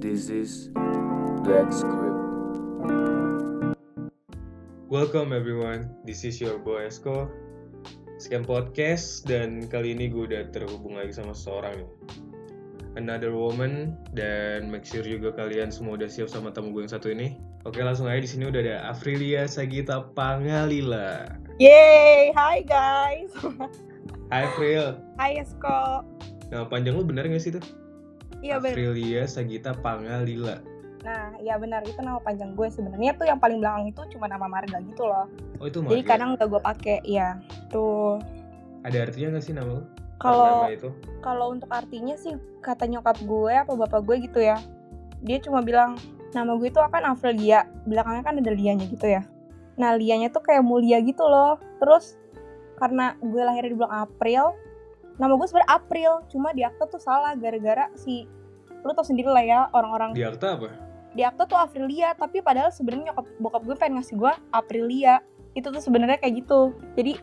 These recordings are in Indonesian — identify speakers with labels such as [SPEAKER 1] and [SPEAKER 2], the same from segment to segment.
[SPEAKER 1] This is Black Script.
[SPEAKER 2] Welcome everyone, this is your boy Esko Scam Podcast dan kali ini gue udah terhubung lagi sama seseorang nih Another woman dan make sure juga kalian semua udah siap sama tamu gue yang satu ini Oke langsung aja di sini udah ada Afrilia Sagita Pangalila
[SPEAKER 3] Yeay, hi guys.
[SPEAKER 2] Hai April,
[SPEAKER 3] Hai Esko.
[SPEAKER 2] nama panjang lu bener gak sih tuh?
[SPEAKER 3] Iya benar.
[SPEAKER 2] Afrilia Sagita Pangalila
[SPEAKER 3] Nah, iya benar itu nama panjang gue sebenarnya tuh yang paling belakang itu cuma nama marga gitu loh.
[SPEAKER 2] Oh itu
[SPEAKER 3] Jadi
[SPEAKER 2] marga.
[SPEAKER 3] kadang gak gue pakai, ya. Tuh.
[SPEAKER 2] Ada artinya gak sih nama lu?
[SPEAKER 3] Kalau
[SPEAKER 2] Nama itu?
[SPEAKER 3] kalau untuk artinya sih kata nyokap gue apa bapak gue gitu ya. Dia cuma bilang nama gue itu akan Afrelia, belakangnya kan ada lianya gitu ya. Nah, lianya tuh kayak mulia gitu loh. Terus karena gue lahir di bulan April, nama gue sebenarnya April, cuma di akte tuh salah gara-gara si lu tau sendiri lah ya orang-orang
[SPEAKER 2] Di akta apa?
[SPEAKER 3] di akte tuh Aprilia tapi padahal sebenarnya nyokap bokap gue pengen ngasih gue Aprilia itu tuh sebenarnya kayak gitu jadi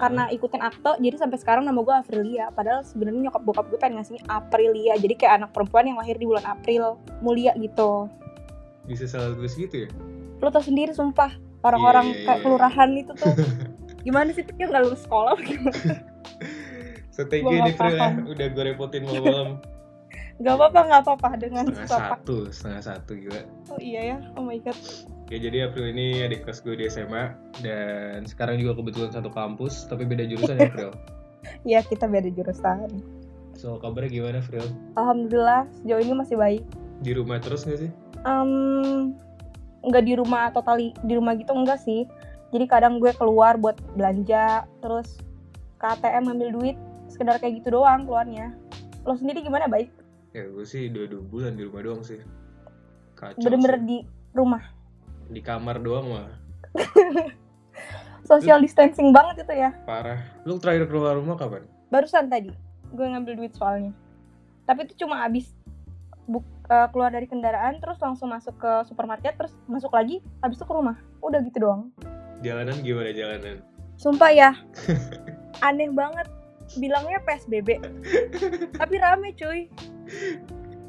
[SPEAKER 3] karena ikutin akte jadi sampai sekarang nama gue Aprilia padahal sebenarnya nyokap bokap gue pengen ngasihnya Aprilia jadi kayak anak perempuan yang lahir di bulan April mulia gitu
[SPEAKER 2] Bisa salah tulis gitu ya?
[SPEAKER 3] lo tau sendiri sumpah
[SPEAKER 2] Iya,
[SPEAKER 3] orang-orang
[SPEAKER 2] iya,
[SPEAKER 3] kayak
[SPEAKER 2] iya.
[SPEAKER 3] kelurahan itu tuh gimana sih pikir nggak lulus sekolah gimana
[SPEAKER 2] So thank
[SPEAKER 3] Gua
[SPEAKER 2] you
[SPEAKER 3] nggak
[SPEAKER 2] nih April ya,
[SPEAKER 3] paham.
[SPEAKER 2] udah gue repotin malam-malam
[SPEAKER 3] nggak apa-apa nggak apa-apa dengan
[SPEAKER 2] setengah
[SPEAKER 3] siapa
[SPEAKER 2] satu setengah satu gila
[SPEAKER 3] oh iya ya oh my god
[SPEAKER 2] ya jadi April ini adik kelas gue di SMA dan sekarang juga kebetulan satu kampus tapi beda jurusan ya April
[SPEAKER 3] ya kita beda jurusan
[SPEAKER 2] so kabarnya gimana April
[SPEAKER 3] alhamdulillah sejauh ini masih baik
[SPEAKER 2] di rumah terus gak sih
[SPEAKER 3] Em, nggak di rumah totali di rumah gitu enggak sih jadi kadang gue keluar buat belanja terus ke ATM ngambil duit sekedar kayak gitu doang keluarnya lo sendiri gimana baik
[SPEAKER 2] ya gue sih dua dua bulan di rumah doang sih kacau
[SPEAKER 3] bener-bener
[SPEAKER 2] sih.
[SPEAKER 3] di rumah
[SPEAKER 2] di kamar doang mah
[SPEAKER 3] social distancing banget itu ya
[SPEAKER 2] parah lu terakhir keluar rumah kapan
[SPEAKER 3] barusan tadi gue ngambil duit soalnya tapi itu cuma abis buk- eh, keluar dari kendaraan terus langsung masuk ke supermarket terus masuk lagi habis itu ke rumah udah gitu doang
[SPEAKER 2] jalanan gimana jalanan
[SPEAKER 3] Sumpah ya, aneh banget. Bilangnya PSBB, tapi rame cuy.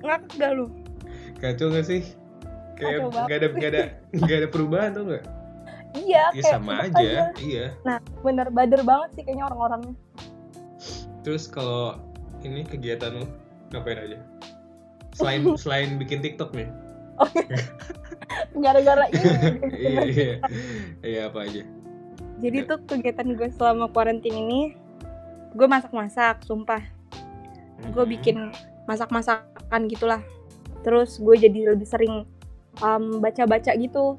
[SPEAKER 3] Ngakak gak lu?
[SPEAKER 2] kacau gak sih kayak
[SPEAKER 3] Kacau banget.
[SPEAKER 2] gak ada gak ada gak ada perubahan tuh gak
[SPEAKER 3] Iya,
[SPEAKER 2] ya
[SPEAKER 3] kayak
[SPEAKER 2] sama
[SPEAKER 3] tetep
[SPEAKER 2] aja iya
[SPEAKER 3] Bener bader banget sih kayaknya orang-orangnya.
[SPEAKER 2] Terus kalau ini kegiatan lu ngapain aja? Selain selain bikin TikTok nih.
[SPEAKER 3] Gara-gara ini.
[SPEAKER 2] iya iya. Iya apa aja?
[SPEAKER 3] Jadi tuh kegiatan gue selama kuarantin ini, gue masak-masak, sumpah. Gue
[SPEAKER 2] Mhm.
[SPEAKER 3] bikin masak-masakan gitulah. Terus gue jadi lebih sering um, baca-baca gitu,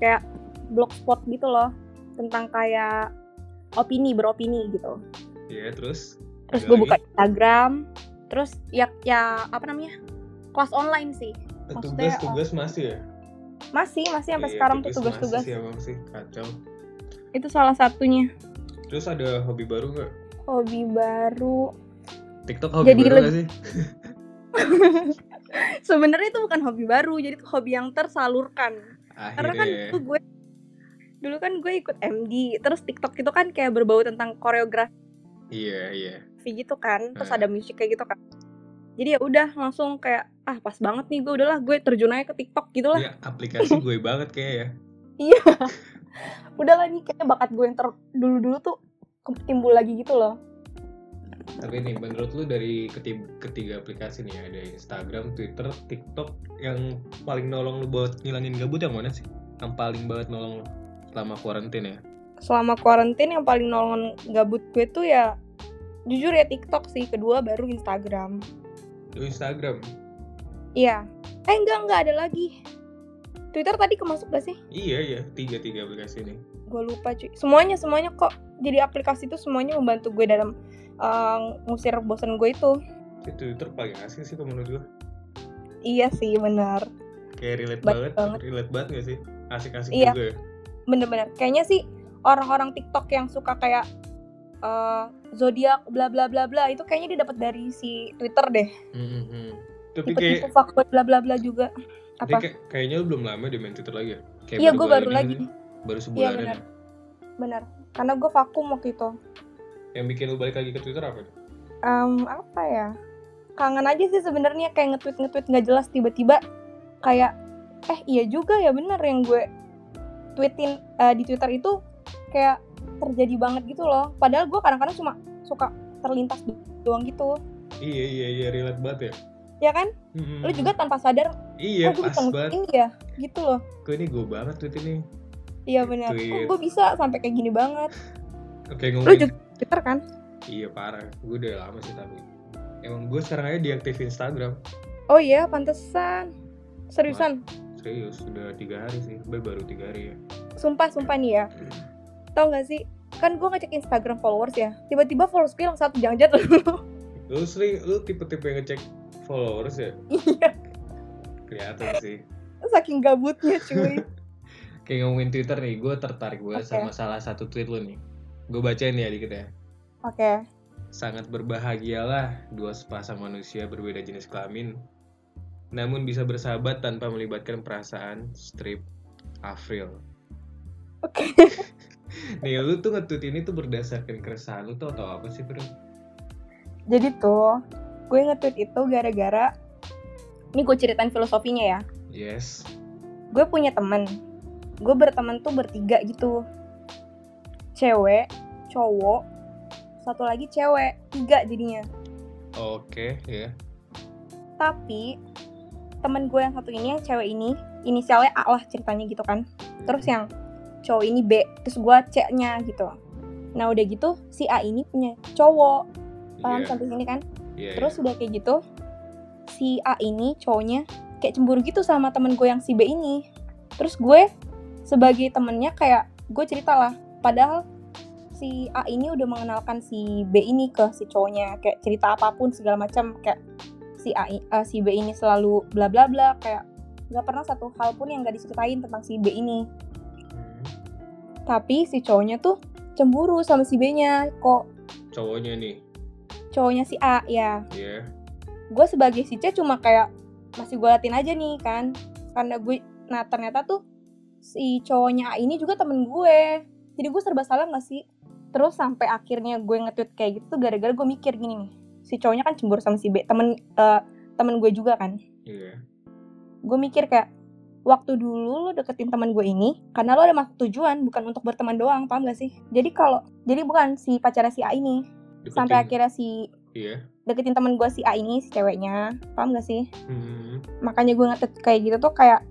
[SPEAKER 3] kayak blogspot gitu loh, tentang kayak opini beropini gitu.
[SPEAKER 2] Iya, terus
[SPEAKER 3] terus
[SPEAKER 2] Ada
[SPEAKER 3] gue
[SPEAKER 2] lagi?
[SPEAKER 3] buka Instagram terus ya ya apa namanya kelas online sih maksudnya,
[SPEAKER 2] tugas-tugas masih ya?
[SPEAKER 3] masih masih sampai
[SPEAKER 2] Iya,
[SPEAKER 3] sekarang tuh
[SPEAKER 2] masih
[SPEAKER 3] tugas-tugas
[SPEAKER 2] sih emang sih kacau.
[SPEAKER 3] itu salah satunya
[SPEAKER 2] Terus ada hobi baru nggak?
[SPEAKER 3] hobi baru
[SPEAKER 2] TikTok hobi
[SPEAKER 3] Jadi
[SPEAKER 2] baru
[SPEAKER 3] lebih-
[SPEAKER 2] nggak sih?
[SPEAKER 3] sebenarnya itu bukan hobi baru jadi itu hobi yang tersalurkan
[SPEAKER 2] Akhirnya. ya.
[SPEAKER 3] karena kan dulu gue dulu kan gue ikut MD terus TikTok itu kan kayak berbau tentang koreografi
[SPEAKER 2] Iya, iya.
[SPEAKER 3] gitu kan terus
[SPEAKER 2] Hmm.
[SPEAKER 3] ada musik kayak gitu kan jadi ya udah langsung kayak ah pas banget nih gue udahlah gue terjun aja ke TikTok gitu lah
[SPEAKER 2] Iya, aplikasi gue banget kayak ya.
[SPEAKER 3] udahlah nih kayaknya bakat gue yang ter- dulu-dulu tuh ke- timbul lagi gitu loh
[SPEAKER 2] Tapi nih, menurut lu dari ketiga, ketiga aplikasi nih ya, ada Instagram, Twitter, TikTok yang paling nolong lu buat ngilangin gabut yang mana sih? Yang paling banget nolong lu selama kuarantin ya?
[SPEAKER 3] selama kuarantin yang paling nolong gabut gue tuh ya jujur ya TikTok sih kedua baru Instagram
[SPEAKER 2] Lu Instagram?
[SPEAKER 3] iya eh enggak enggak ada lagi Twitter tadi kemasuk gak sih
[SPEAKER 2] Iya iya, tiga tiga aplikasi nih.
[SPEAKER 3] gue lupa cuy semuanya semuanya kok jadi aplikasi itu semuanya membantu gue dalam eh, ngusir bosan gue itu
[SPEAKER 2] Tapi Twitter paling asik sih kalau menurut gue.
[SPEAKER 3] iya sih benar
[SPEAKER 2] Kayak relate
[SPEAKER 3] Baik
[SPEAKER 2] banget,
[SPEAKER 3] banget.
[SPEAKER 2] relate banget gak sih? Asik-asik
[SPEAKER 3] Iya.
[SPEAKER 2] juga ya.
[SPEAKER 3] bener-bener kayaknya sih orang-orang TikTok yang suka kayak eh, zodiak bla bla bla bla itu kayaknya dia dapat dari si Twitter deh
[SPEAKER 2] Mm, mm, mm. Tapi kayak,
[SPEAKER 3] tipe-tipe fuckboy bla bla bla juga
[SPEAKER 2] tapi
[SPEAKER 3] apa
[SPEAKER 2] kayak kayaknya lu belum lama di main Twitter lagi ya? Kayak
[SPEAKER 3] Iya, gue baru
[SPEAKER 2] bulanan
[SPEAKER 3] lagi. Iya,
[SPEAKER 2] gitu. Baru sebulanan.
[SPEAKER 3] benar.
[SPEAKER 2] ya?
[SPEAKER 3] bener karena gue vakum waktu itu
[SPEAKER 2] Yang bikin lu balik lagi ke Twitter apa?
[SPEAKER 3] Em, apa ya kangen aja sih sebenarnya kayak nge-tweet nge-tweet nggak jelas tiba-tiba kayak eh iya juga ya bener yang gue tweetin eh, di Twitter itu kayak terjadi banget gitu loh. Padahal gue kadang-kadang cuma suka terlintas do- doang gitu.
[SPEAKER 2] Iya iya iya relate banget ya.
[SPEAKER 3] Ya kan?
[SPEAKER 2] Hmm.
[SPEAKER 3] Lu juga tanpa sadar
[SPEAKER 2] Iya
[SPEAKER 3] kok gue
[SPEAKER 2] pas
[SPEAKER 3] Oh, bisa
[SPEAKER 2] banget.
[SPEAKER 3] ngikutin ya gitu loh.
[SPEAKER 2] Kok ini gue banget tweet ini.
[SPEAKER 3] Iya bener. Kok
[SPEAKER 2] Tweet. Oh,
[SPEAKER 3] gue bisa sampai kayak gini banget.
[SPEAKER 2] Oke
[SPEAKER 3] Lu
[SPEAKER 2] ngomongin.
[SPEAKER 3] juga Twitter kan?
[SPEAKER 2] Iya parah. Gue udah lama sih tapi. Emang gue sekarang aja diaktif Instagram.
[SPEAKER 3] Oh iya, pantesan. Seriusan,
[SPEAKER 2] Serius udah tiga hari sih. Baru baru tiga hari ya.
[SPEAKER 3] sumpah sumpah nih ya. Tau gak sih? Kan gue ngecek Instagram followers ya. Tiba-tiba followers gue langsung satu jangan-jangan lu.
[SPEAKER 2] Lu sering lu tipe-tipe ngecek followers ya?
[SPEAKER 3] Iya,
[SPEAKER 2] Kelihatan sih.
[SPEAKER 3] saking gabutnya cuy.
[SPEAKER 2] Kayak ngomongin Twitter nih, gue tertarik banget
[SPEAKER 3] Oke.
[SPEAKER 2] sama salah satu tweet lu nih. Gue bacain ya dikit ya.
[SPEAKER 3] Oke.
[SPEAKER 2] Sangat berbahagialah dua sepasang manusia berbeda jenis kelamin, namun bisa bersahabat tanpa melibatkan perasaan strip Avril.
[SPEAKER 3] Oke.
[SPEAKER 2] Nih, lu tuh ngetweet ini tuh berdasarkan keresahan lu tuh atau apa sih, Bro?
[SPEAKER 3] Jadi tuh, gue nge-tweet itu gara-gara ini gue ceritain filosofinya ya.
[SPEAKER 2] Yes.
[SPEAKER 3] Gue punya temen. Gue berteman tuh bertiga gitu. Cewek, cowok, satu lagi cewek, tiga jadinya.
[SPEAKER 2] Oke, ya.
[SPEAKER 3] Tapi temen gue yang satu ini yang cewek ini inisialnya A lah ceritanya gitu kan. Terus yang cowok ini B, terus gue C-nya gitu. Nah udah gitu si A ini punya cowok, paham
[SPEAKER 2] Iya,
[SPEAKER 3] sampai sini kan?
[SPEAKER 2] iya,
[SPEAKER 3] Terus udah kayak gitu, si A ini cowoknya kayak cemburu gitu sama temen gue yang si B ini. Terus gue sebagai temennya kayak gue cerita lah. Padahal si A ini udah mengenalkan si B ini ke si cowoknya kayak cerita apapun segala macam kayak si A i- eh, si B ini selalu bla bla bla kayak nggak pernah satu hal pun yang gak diceritain tentang si B ini.
[SPEAKER 2] Hmm.
[SPEAKER 3] Tapi si cowoknya tuh cemburu sama si B-nya kok
[SPEAKER 2] cowoknya nih,
[SPEAKER 3] cowoknya si A ya.
[SPEAKER 2] ya.
[SPEAKER 3] gue sebagai si C cuma kayak masih gue latin aja nih kan karena gue nah ternyata tuh si cowoknya A ini juga temen gue jadi gue serba salah gak sih terus sampai akhirnya gue nge-tweet kayak gitu tuh gara-gara gue mikir gini nih si cowoknya kan cemburu sama si B temen eh, temen gue juga kan
[SPEAKER 2] Iya.
[SPEAKER 3] gue mikir kayak waktu dulu lo deketin teman gue ini karena lo ada maksud tujuan bukan untuk berteman doang paham gak sih jadi kalau jadi bukan si pacarnya si A ini
[SPEAKER 2] Deketin.
[SPEAKER 3] sampai akhirnya si
[SPEAKER 2] Iya.
[SPEAKER 3] deketin teman gue si A ini si ceweknya paham gak sih
[SPEAKER 2] Hmm.
[SPEAKER 3] makanya gue ngetet kayak gitu tuh kayak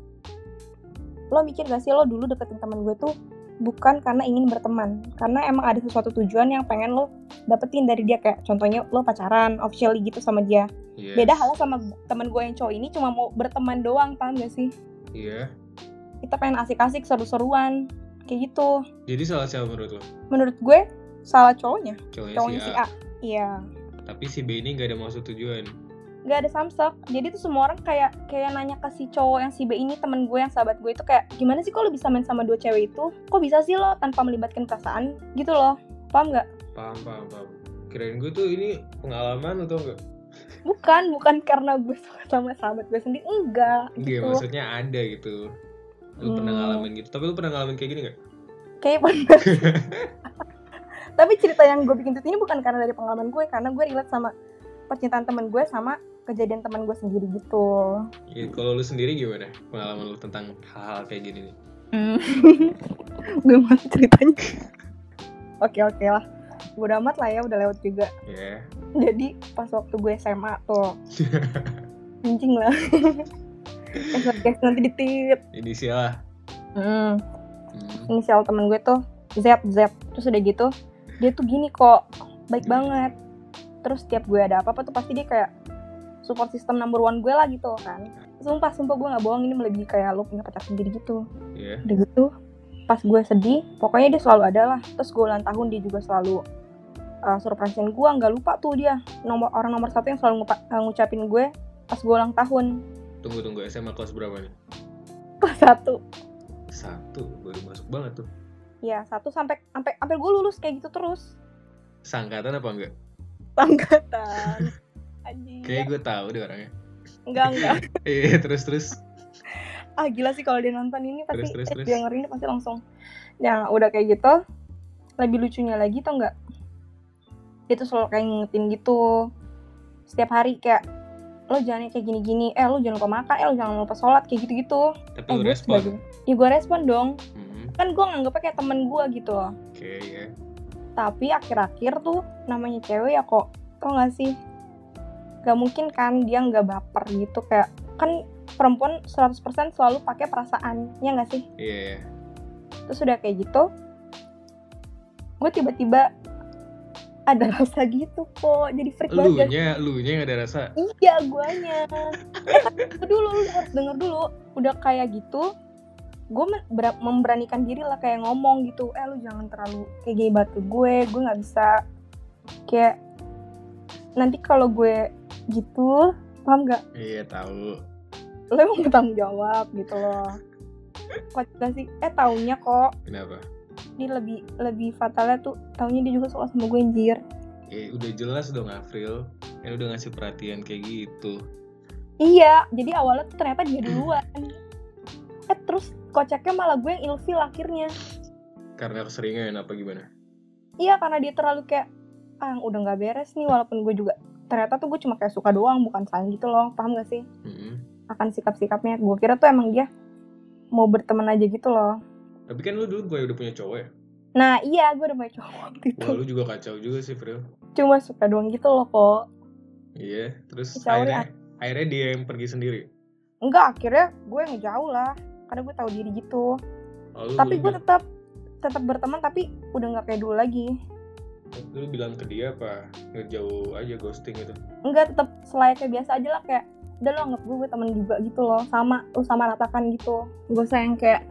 [SPEAKER 3] lo mikir gak sih lo dulu deketin temen gue tuh bukan karena ingin berteman karena emang ada sesuatu tujuan yang pengen lo dapetin dari dia kayak contohnya lo pacaran officially gitu sama dia
[SPEAKER 2] Yes.
[SPEAKER 3] beda halnya sama temen gue yang cowok ini cuma mau berteman doang paham gak sih
[SPEAKER 2] Iya.
[SPEAKER 3] kita pengen asik-asik seru-seruan kayak gitu
[SPEAKER 2] Jadi salah siapa menurut lo?
[SPEAKER 3] menurut gue salah cowoknya
[SPEAKER 2] Cowoknya,
[SPEAKER 3] cowoknya
[SPEAKER 2] si A.
[SPEAKER 3] si A iya
[SPEAKER 2] Tapi si B ini gak ada maksud tujuan.
[SPEAKER 3] nggak ada samsak jadi tuh semua orang kayak kayak nanya ke si cowok yang si B ini temen gue yang sahabat gue itu kayak gimana sih kok lo bisa main sama dua cewek itu kok bisa sih lo tanpa melibatkan perasaan gitu loh paham nggak
[SPEAKER 2] Paham, paham, paham. Kirain gue tuh ini pengalaman atau enggak?
[SPEAKER 3] bukan bukan karena gue suka sama sahabat gue sendiri enggak
[SPEAKER 2] Iya,
[SPEAKER 3] gitu
[SPEAKER 2] maksudnya ada gitu. Lu pernah
[SPEAKER 3] Hmm.
[SPEAKER 2] ngalamin gitu. Tapi lu pernah ngalamin kayak gini gak?
[SPEAKER 3] kayak bener tapi cerita yang gue bikin tweet ini bukan karena dari pengalaman gue karena gue relate sama percintaan temen gue sama kejadian teman gue sendiri gitu
[SPEAKER 2] Ya, kalau lu sendiri gimana pengalaman lu tentang hal-hal kayak gini nih?
[SPEAKER 3] gue Hmm. mau ceritanya oke oke lah gue amat lah ya udah lewat juga
[SPEAKER 2] Ya.
[SPEAKER 3] jadi pas waktu gue SMA tuh anjing lah Eh, guys, nanti ditit
[SPEAKER 2] Inisial lah.
[SPEAKER 3] hmm,
[SPEAKER 2] Hmm.
[SPEAKER 3] inisial temen gue tuh Z Z terus udah gitu dia tuh gini kok baik banget terus setiap gue ada apa apa tuh pasti dia kayak support system number one gue lah gitu kan sumpah sumpah gue nggak bohong ini melebihi kayak lo punya pacar sendiri gitu
[SPEAKER 2] Ya.
[SPEAKER 3] udah gitu pas gue sedih pokoknya dia selalu ada lah terus gue ulang tahun dia juga selalu uh, surprisein gue nggak lupa tuh dia nomor orang nomor satu yang selalu ngupa- uh, ngucapin gue pas gue ulang tahun
[SPEAKER 2] Tunggu tunggu SMA kelas berapa nih?
[SPEAKER 3] kelas satu
[SPEAKER 2] Satu, baru masuk banget tuh.
[SPEAKER 3] ya satu sampai sampai sampai gue lulus kayak gitu terus
[SPEAKER 2] Sangkatan apa enggak?
[SPEAKER 3] Iya. angkatan
[SPEAKER 2] Kayaknya
[SPEAKER 3] anjir
[SPEAKER 2] gue tahu deh orangnya.
[SPEAKER 3] enggak enggak
[SPEAKER 2] Iya, terus terus.
[SPEAKER 3] ah gila sih kalau dia nonton ini pasti
[SPEAKER 2] Terus, terus,
[SPEAKER 3] eh,
[SPEAKER 2] terus.
[SPEAKER 3] dia dengerin ini pasti langsung ya udah kayak gitu lebih lucunya lagi tau nggak dia tuh selalu kayak ngingetin gitu setiap hari kayak lo jangan yang kayak gini-gini eh lo jangan lupa makan eh lo jangan lupa sholat kayak gitu-gitu
[SPEAKER 2] Tapi
[SPEAKER 3] eh
[SPEAKER 2] lu
[SPEAKER 3] gue
[SPEAKER 2] respon.
[SPEAKER 3] sebagai- ya gue respon dong
[SPEAKER 2] Hmm,
[SPEAKER 3] kan gue nganggepnya kayak temen gue gitu loh
[SPEAKER 2] Oke ya.
[SPEAKER 3] tapi akhir-akhir tuh namanya cewek ya kok tau gak sih gak mungkin kan dia nggak baper gitu kayak kan perempuan 100% selalu pakai perasaan ya gak sih
[SPEAKER 2] Iya. iya.
[SPEAKER 3] terus udah kayak gitu gue tiba-tiba ada rasa gitu kok jadi freak banget
[SPEAKER 2] Lunya, lunya yang ada rasa.
[SPEAKER 3] iya guanya Eh, tapi tunggu dulu lu harus denger dulu udah kayak gitu gue memberanikan diri lah kayak ngomong gitu eh lu jangan terlalu kayak gini banget ke gue gue nggak bisa kayak nanti kalau gue gitu paham gak
[SPEAKER 2] Iya tahu.
[SPEAKER 3] lo emang bertanggung jawab gitu loh kok juga sih eh taunya kok
[SPEAKER 2] Kenapa?
[SPEAKER 3] dia lebih lebih fatalnya tuh taunya dia juga suka sama gue anjir
[SPEAKER 2] Eh udah jelas dong April. Kan udah ngasih perhatian kayak gitu.
[SPEAKER 3] iya jadi awalnya tuh ternyata dia duluan eh terus kocaknya malah gue yang ilfil akhirnya
[SPEAKER 2] Karena keseringan apa gimana?
[SPEAKER 3] iya karena dia terlalu kayak ah udah nggak beres nih walaupun gue juga ternyata tuh gue cuma kayak suka doang bukan sayang gitu loh paham gak sih
[SPEAKER 2] Hmm.
[SPEAKER 3] akan sikap-sikapnya gue kira tuh emang dia mau berteman aja gitu loh
[SPEAKER 2] Tapi kan lu dulu gue udah punya cowok ya.
[SPEAKER 3] nah iya gue udah banyak cowok waktu itu
[SPEAKER 2] Wah lu juga kacau juga sih April.
[SPEAKER 3] cuma suka doang gitu loh kok
[SPEAKER 2] Iya. Terus
[SPEAKER 3] Kacau ya?
[SPEAKER 2] akhirnya akhirnya dia yang pergi sendiri.
[SPEAKER 3] enggak akhirnya gue ngejauh lah karena gue tahu diri gitu
[SPEAKER 2] Oh, lu,
[SPEAKER 3] tapi
[SPEAKER 2] lu
[SPEAKER 3] gue
[SPEAKER 2] bi-
[SPEAKER 3] tetap tetap berteman tapi udah nggak kayak dulu lagi
[SPEAKER 2] lu bilang ke dia apa ngejauh aja ghosting gitu.
[SPEAKER 3] enggak tetap selayaknya biasa aja lah kayak udah lo anggap gue, gue temen juga gitu loh sama lo sama ratakan gitu gue sayang kayak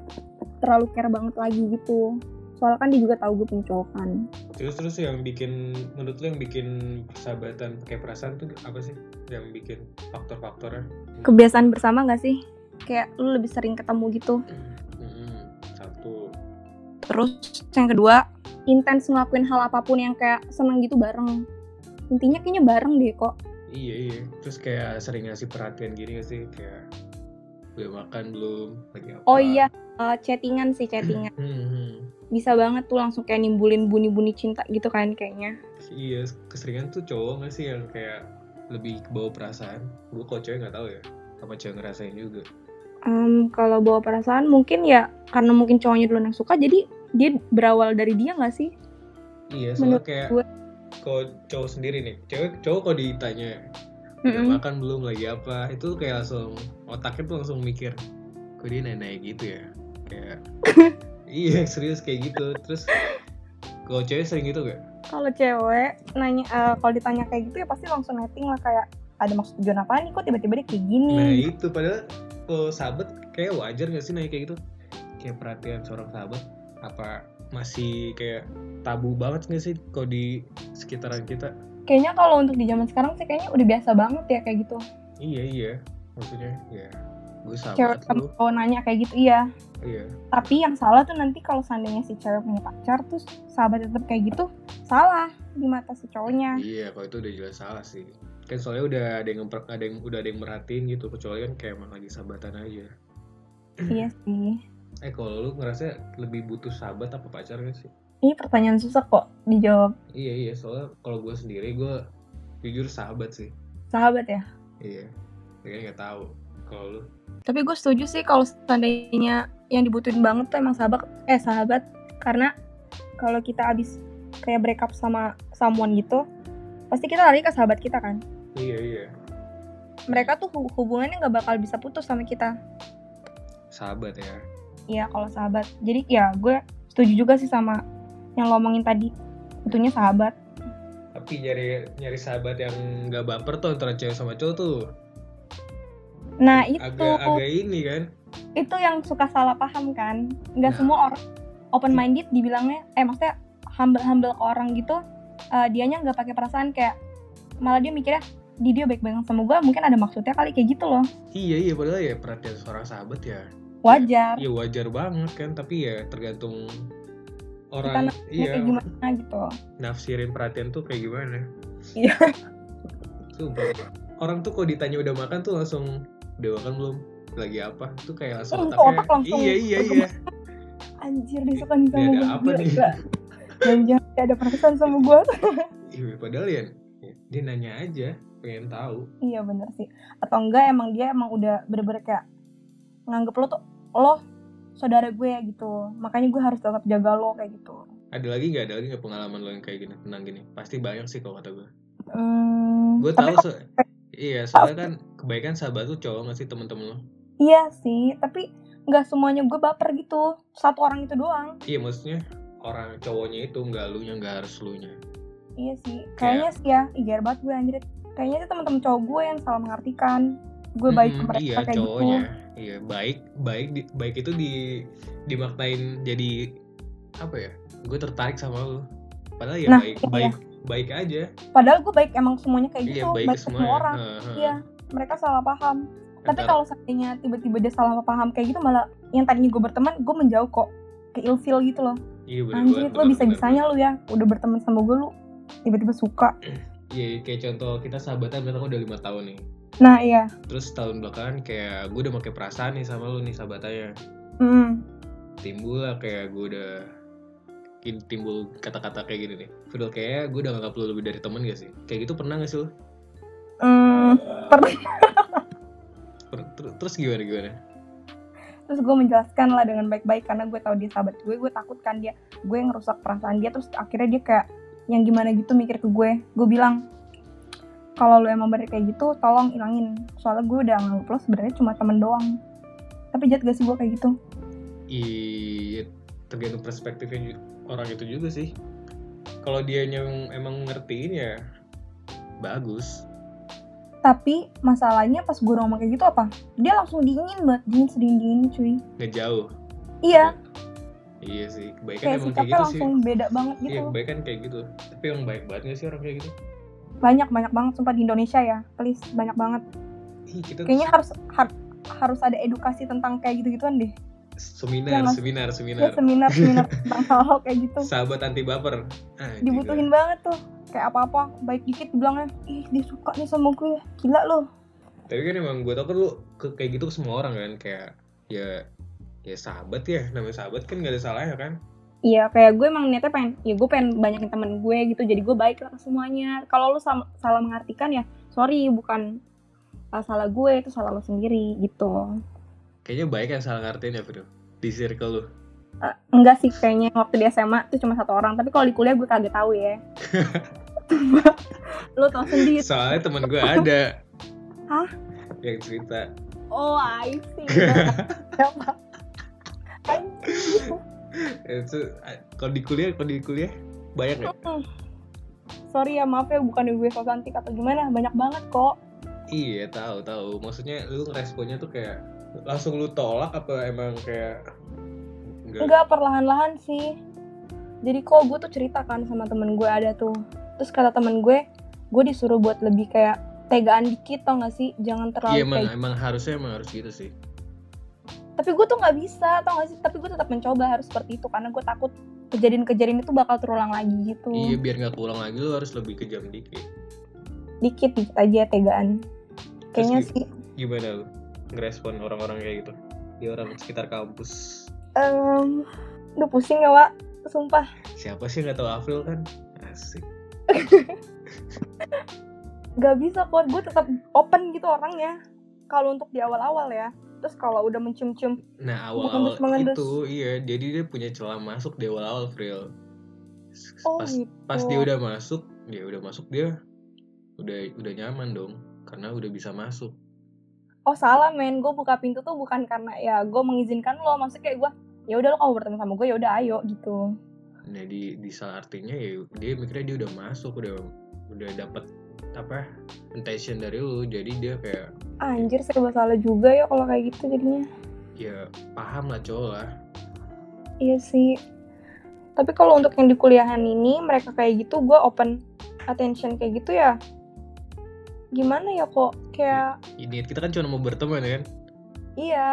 [SPEAKER 3] terlalu care banget lagi gitu soalnya kan dia juga tahu gue punya cowok kan
[SPEAKER 2] Terus terus yang bikin menurut lu yang bikin persahabatan pakai perasaan tuh apa sih? Yang bikin faktor-faktornya?
[SPEAKER 3] kebiasaan bersama gak sih kayak lu lebih sering ketemu gitu
[SPEAKER 2] Hmm, satu.
[SPEAKER 3] terus yang kedua intens ngelakuin hal apapun yang kayak seneng gitu bareng intinya kayaknya bareng deh kok
[SPEAKER 2] Iya iya. Terus kayak sering ngasih perhatian gini gak sih? Kayak udah makan belum? Lagi apa?
[SPEAKER 3] oh iya eh, chattingan sih chattingan
[SPEAKER 2] Hmm, hmm.
[SPEAKER 3] bisa banget tuh langsung kayak nimbulin bunyi-bunyi cinta gitu kan kayaknya
[SPEAKER 2] Iya, keseringan tuh cowok gak sih yang kayak lebih ke bawah perasaan? Gue kok cewek gak tahu ya. Apa cewek ngerasain juga?
[SPEAKER 3] Em, kalau bawa perasaan mungkin ya karena mungkin cowoknya duluan yang suka jadi dia berawal dari dia nggak sih
[SPEAKER 2] Iya, soalnya
[SPEAKER 3] Menurut
[SPEAKER 2] kayak
[SPEAKER 3] gue.
[SPEAKER 2] kalau cowok sendiri nih, cewek cowok kalau ditanya udah
[SPEAKER 3] Mm-mm.
[SPEAKER 2] makan belum lagi apa, itu kayak langsung otaknya tuh langsung mikir, kok dia nanya gitu ya, kayak iya serius kayak gitu, terus kalau cewek sering gitu gak?
[SPEAKER 3] kalau cewek nanya eh, kalau ditanya kayak gitu ya pasti langsung netting lah kayak ada maksud tujuan apa nih kok tiba-tiba dia kayak gini
[SPEAKER 2] Nah itu padahal kalau sahabat kayak wajar gak sih nanya kayak gitu, kayak perhatian seorang sahabat apa masih kayak tabu banget gak sih kalau di sekitaran kita?
[SPEAKER 3] kayaknya kalau untuk di zaman sekarang sih kayaknya udah biasa banget ya kayak gitu
[SPEAKER 2] Iya iya, maksudnya ya gue
[SPEAKER 3] cewek
[SPEAKER 2] sahabat
[SPEAKER 3] sama
[SPEAKER 2] lu,
[SPEAKER 3] cowok nanya kayak gitu iya
[SPEAKER 2] iya.
[SPEAKER 3] tapi yang salah tuh nanti kalau seandainya si cewek punya pacar terus sahabat tetap kayak gitu salah di mata si cowoknya
[SPEAKER 2] Iya, kalau itu udah jelas salah sih. Kan soalnya udah ada yang memper- ada yang udah ada yang merhatiin gitu, kecuali kan kayak emang lagi sahabatan aja.
[SPEAKER 3] iya sih
[SPEAKER 2] Eh kalau lu ngerasa lebih butuh sahabat apa pacar gak sih?
[SPEAKER 3] Ini pertanyaan susah kok dijawab
[SPEAKER 2] Iya iya, soalnya kalau gue sendiri gue jujur sahabat sih.
[SPEAKER 3] sahabat ya.
[SPEAKER 2] Iya, kayaknya nggak tahu. Kalau lu
[SPEAKER 3] Tapi gue setuju sih kalau seandainya yang dibutuhin banget tuh emang sahabat eh sahabat karena kalau kita abis kayak break up sama someone gitu pasti kita lari ke sahabat kita kan.
[SPEAKER 2] iya iya
[SPEAKER 3] Mereka tuh hu- hubungannya nggak bakal bisa putus sama kita.
[SPEAKER 2] sahabat ya.
[SPEAKER 3] Iya kalau sahabat. Jadi ya gue setuju juga sih sama yang lo omongin tadi. Butuhnya sahabat.
[SPEAKER 2] Tapi nyari nyari sahabat yang nggak baper tuh antara cewek sama cowok tuh
[SPEAKER 3] Nah itu
[SPEAKER 2] agak agak ini kan.
[SPEAKER 3] itu yang suka salah paham kan. Nggak
[SPEAKER 2] Ya.
[SPEAKER 3] semua orang open minded dibilangnya eh maksudnya humble humble ke orang gitu eh, dianya nggak pakai perasaan kayak malah dia mikirnya di dia baik banget sama gue mungkin ada maksudnya kali kayak gitu loh
[SPEAKER 2] Iya iya padahal ya perhatian seorang sahabat ya
[SPEAKER 3] wajar
[SPEAKER 2] ya wajar banget kan tapi ya tergantung
[SPEAKER 3] kita
[SPEAKER 2] orang
[SPEAKER 3] nafsunya
[SPEAKER 2] iya
[SPEAKER 3] kayak gimana gitu
[SPEAKER 2] nafsirin perhatian tuh kayak gimana
[SPEAKER 3] Iya.
[SPEAKER 2] Sumpah. orang tuh kalau ditanya udah makan tuh langsung udah makan belum lagi apa tuh kayak langsung
[SPEAKER 3] Hmm, otak langsung
[SPEAKER 2] iya iya iya
[SPEAKER 3] anjir dia suka nih
[SPEAKER 2] Ini
[SPEAKER 3] sama
[SPEAKER 2] ada
[SPEAKER 3] gue
[SPEAKER 2] apa nih?
[SPEAKER 3] jangan jangan ada perasaan sama gue
[SPEAKER 2] Iya, padahal ya ya, dia nanya aja pengen tahu
[SPEAKER 3] Iya bener sih. Atau enggak emang dia emang udah bener-bener kayak nganggep lo tuh lo saudara gue gitu. Makanya gue harus tetap jaga lo kayak gitu.
[SPEAKER 2] ada lagi nggak ada lagi nggak pengalaman lo yang kayak gini tenang gini pasti banyak sih kalau kata gue
[SPEAKER 3] Hmm,
[SPEAKER 2] gue
[SPEAKER 3] tapi
[SPEAKER 2] tahu
[SPEAKER 3] kok-
[SPEAKER 2] so iya soalnya kan kebanyakan sahabat tuh cowok nggak sih temen-temen lo
[SPEAKER 3] iya sih, tapi nggak semuanya gue baper gitu. Satu orang itu doang.
[SPEAKER 2] iya maksudnya orang cowoknya itu nggak lu nya nggak harus lu nya
[SPEAKER 3] Iya sih. Kayaknya sih ya, ijar banget gue anjir. Kayaknya sih teman-teman cowok gue yang salah mengartikan. Gue baik ke
[SPEAKER 2] Mm,
[SPEAKER 3] mereka
[SPEAKER 2] iya
[SPEAKER 3] kayak
[SPEAKER 2] cowoknya
[SPEAKER 3] gitu.
[SPEAKER 2] iya baik baik di- baik itu di dimaknain jadi apa ya gue tertarik sama lu padahal ya
[SPEAKER 3] Nah,
[SPEAKER 2] baik
[SPEAKER 3] iya.
[SPEAKER 2] baik baik aja
[SPEAKER 3] Padahal gue baik emang semuanya kayak
[SPEAKER 2] iya
[SPEAKER 3] gitu.
[SPEAKER 2] baik ke
[SPEAKER 3] ke
[SPEAKER 2] semua
[SPEAKER 3] semua
[SPEAKER 2] ya.
[SPEAKER 3] orang.
[SPEAKER 2] Heeh, heeh.
[SPEAKER 3] Iya, mereka salah paham. Tapi
[SPEAKER 2] Antara-
[SPEAKER 3] kalau seandainya tiba-tiba dia salah paham kayak gitu malah yang tadinya gue berteman, gue menjauh kok ke ilfil gitu loh.
[SPEAKER 2] iya bener banget,
[SPEAKER 3] Anjir, lo
[SPEAKER 2] bener, bener,
[SPEAKER 3] bisa-bisanya lu ya udah berteman sama gue lu tiba-tiba suka.
[SPEAKER 2] bener. iya kayak contoh kita sahabatan bener udah lima tahun nih
[SPEAKER 3] Nah, iya.
[SPEAKER 2] terus tahun belakangan kayak gue udah pakai perasaan nih sama lu nih sahabatannya
[SPEAKER 3] Mm.
[SPEAKER 2] timbul lah kayak gue udah timbul kata-kata kayak gini nih Fidel kayak gue udah nganggap lu lebih dari temen gak sih kayak gitu pernah gak sih lu
[SPEAKER 3] Mm.
[SPEAKER 2] Per- ter- terus gimana gimana
[SPEAKER 3] Terus gue menjelaskan lah dengan baik-baik karena gue tahu dia sahabat gue, gue takut kan dia gue ngerusak perasaan dia terus akhirnya dia kayak yang gimana gitu mikir ke gue. Gue bilang kalau lu emang bener kayak gitu, tolong ilangin. Soalnya gue udah nganggep lo sebenarnya cuma temen doang. Tapi jahat gak sih gue kayak gitu?
[SPEAKER 2] Iya, tergantung perspektifnya ju- orang itu juga sih. Kalau dia yang emang ngertiin ya bagus.
[SPEAKER 3] Tapi masalahnya pas gue ngomong kayak gitu apa? Dia langsung dingin banget, dingin sedingin dingin cuy.
[SPEAKER 2] Nggak jauh.
[SPEAKER 3] Iya,
[SPEAKER 2] Iya sih, kebaikan
[SPEAKER 3] kayak
[SPEAKER 2] emang kayak gitu
[SPEAKER 3] sikapnya langsung beda banget
[SPEAKER 2] sih. Iya,
[SPEAKER 3] gitu.
[SPEAKER 2] kebaikan kayak gitu. Tapi emang baik banget gak sih orang kayak gitu?
[SPEAKER 3] Banyak banyak banget sumpah di Indonesia ya. Please banyak banget.
[SPEAKER 2] Ih, kita
[SPEAKER 3] Kayaknya harus har- harus ada edukasi tentang kayak gitu-gituan deh.
[SPEAKER 2] seminar,
[SPEAKER 3] Iya, Mas.
[SPEAKER 2] seminar, seminar.
[SPEAKER 3] Kayak seminar seminar tentang hal kayak gitu.
[SPEAKER 2] Sahabat anti baper. Ah, gila.
[SPEAKER 3] Dibutuhin banget tuh. Kayak apa-apa baik dikit bilangnya, "Ih, dia suka nih sama gue. Gila loh."
[SPEAKER 2] Tapi kan emang gue tau kan lu ke, kayak gitu ke semua orang kan kayak ya ya sahabat ya namanya sahabat kan gak ada salahnya kan
[SPEAKER 3] Iya, kayak gue emang niatnya pengen, ya gue pengen banyakin temen gue gitu, jadi gue baik lah ke semuanya. Kalau lu sam- salah mengartikan ya, sorry, bukan uh, salah gue, itu salah lo sendiri gitu.
[SPEAKER 2] kayaknya baik yang salah ngertiin ya bro di circle lu
[SPEAKER 3] Uh, enggak sih, kayaknya waktu di SMA tuh cuma satu orang, tapi kalau di kuliah gue kagak tahu ya. lo tau sendiri.
[SPEAKER 2] Soalnya temen gue ada.
[SPEAKER 3] Iya. Hah?
[SPEAKER 2] Yang cerita.
[SPEAKER 3] Oh, I see.
[SPEAKER 2] Itu kalau di kuliah, kalau di kuliah banyak ya? nggak?
[SPEAKER 3] sorry ya, maaf ya, bukan gue so cantik atau gimana, banyak banget kok.
[SPEAKER 2] Iya tahu tahu. Maksudnya lu responnya tuh kayak langsung lu tolak apa emang kayak enggak?
[SPEAKER 3] Enggak, perlahan-lahan sih. Jadi kok gue tuh ceritakan sama temen gue ada tuh. Terus kata temen gue, gue disuruh buat lebih kayak tegaan dikit tau gak sih? Jangan terlalu
[SPEAKER 2] Iya emang
[SPEAKER 3] kayak
[SPEAKER 2] emang harusnya emang harus gitu sih.
[SPEAKER 3] Tapi gue tuh nggak bisa tau gak sih? Tapi gue tetap mencoba harus seperti itu karena gue takut kejadian-kejadian itu bakal terulang lagi gitu.
[SPEAKER 2] Iya biar nggak pulang lagi lu harus lebih kejam dikit.
[SPEAKER 3] Dikit-dikit aja tegaan. Kayaknya
[SPEAKER 2] gi-
[SPEAKER 3] sih
[SPEAKER 2] Gimana lu ngerespon orang-orang kayak gitu? Di orang sekitar kampus.
[SPEAKER 3] em udah pusing ya, Wak. Sumpah.
[SPEAKER 2] Siapa sih nggak tahu April kan? Asik.
[SPEAKER 3] Gak bisa kok, gue tetap open gitu orangnya. Kalau untuk di awal-awal ya. Terus kalau udah mencium-cium
[SPEAKER 2] Nah awal-awal
[SPEAKER 3] mengendus-mengendus.
[SPEAKER 2] itu iya jadi dia punya celah masuk di awal-awal April.
[SPEAKER 3] Oh
[SPEAKER 2] Pas
[SPEAKER 3] gitu.
[SPEAKER 2] pas dia udah masuk dia udah masuk dia udah udah nyaman dong karena udah bisa masuk
[SPEAKER 3] Oh salah men, gue buka pintu tuh bukan karena ya gue mengizinkan lo, maksudnya kayak gue ya udah lo kalau berteman sama gue ya udah ayo gitu.
[SPEAKER 2] jadi Nah, di salah artinya ya dia mikirnya dia udah masuk udah udah dapat apa intention dari lu jadi dia kayak
[SPEAKER 3] Anjir serba salah juga ya kalau kayak gitu jadinya.
[SPEAKER 2] ya paham lah cowok lah
[SPEAKER 3] Iya sih. Tapi kalau untuk yang di kuliahan ini mereka kayak gitu gue open attention kayak gitu ya. Gimana ya kok kayak
[SPEAKER 2] ini kita kan cuma mau berteman ya kan
[SPEAKER 3] iya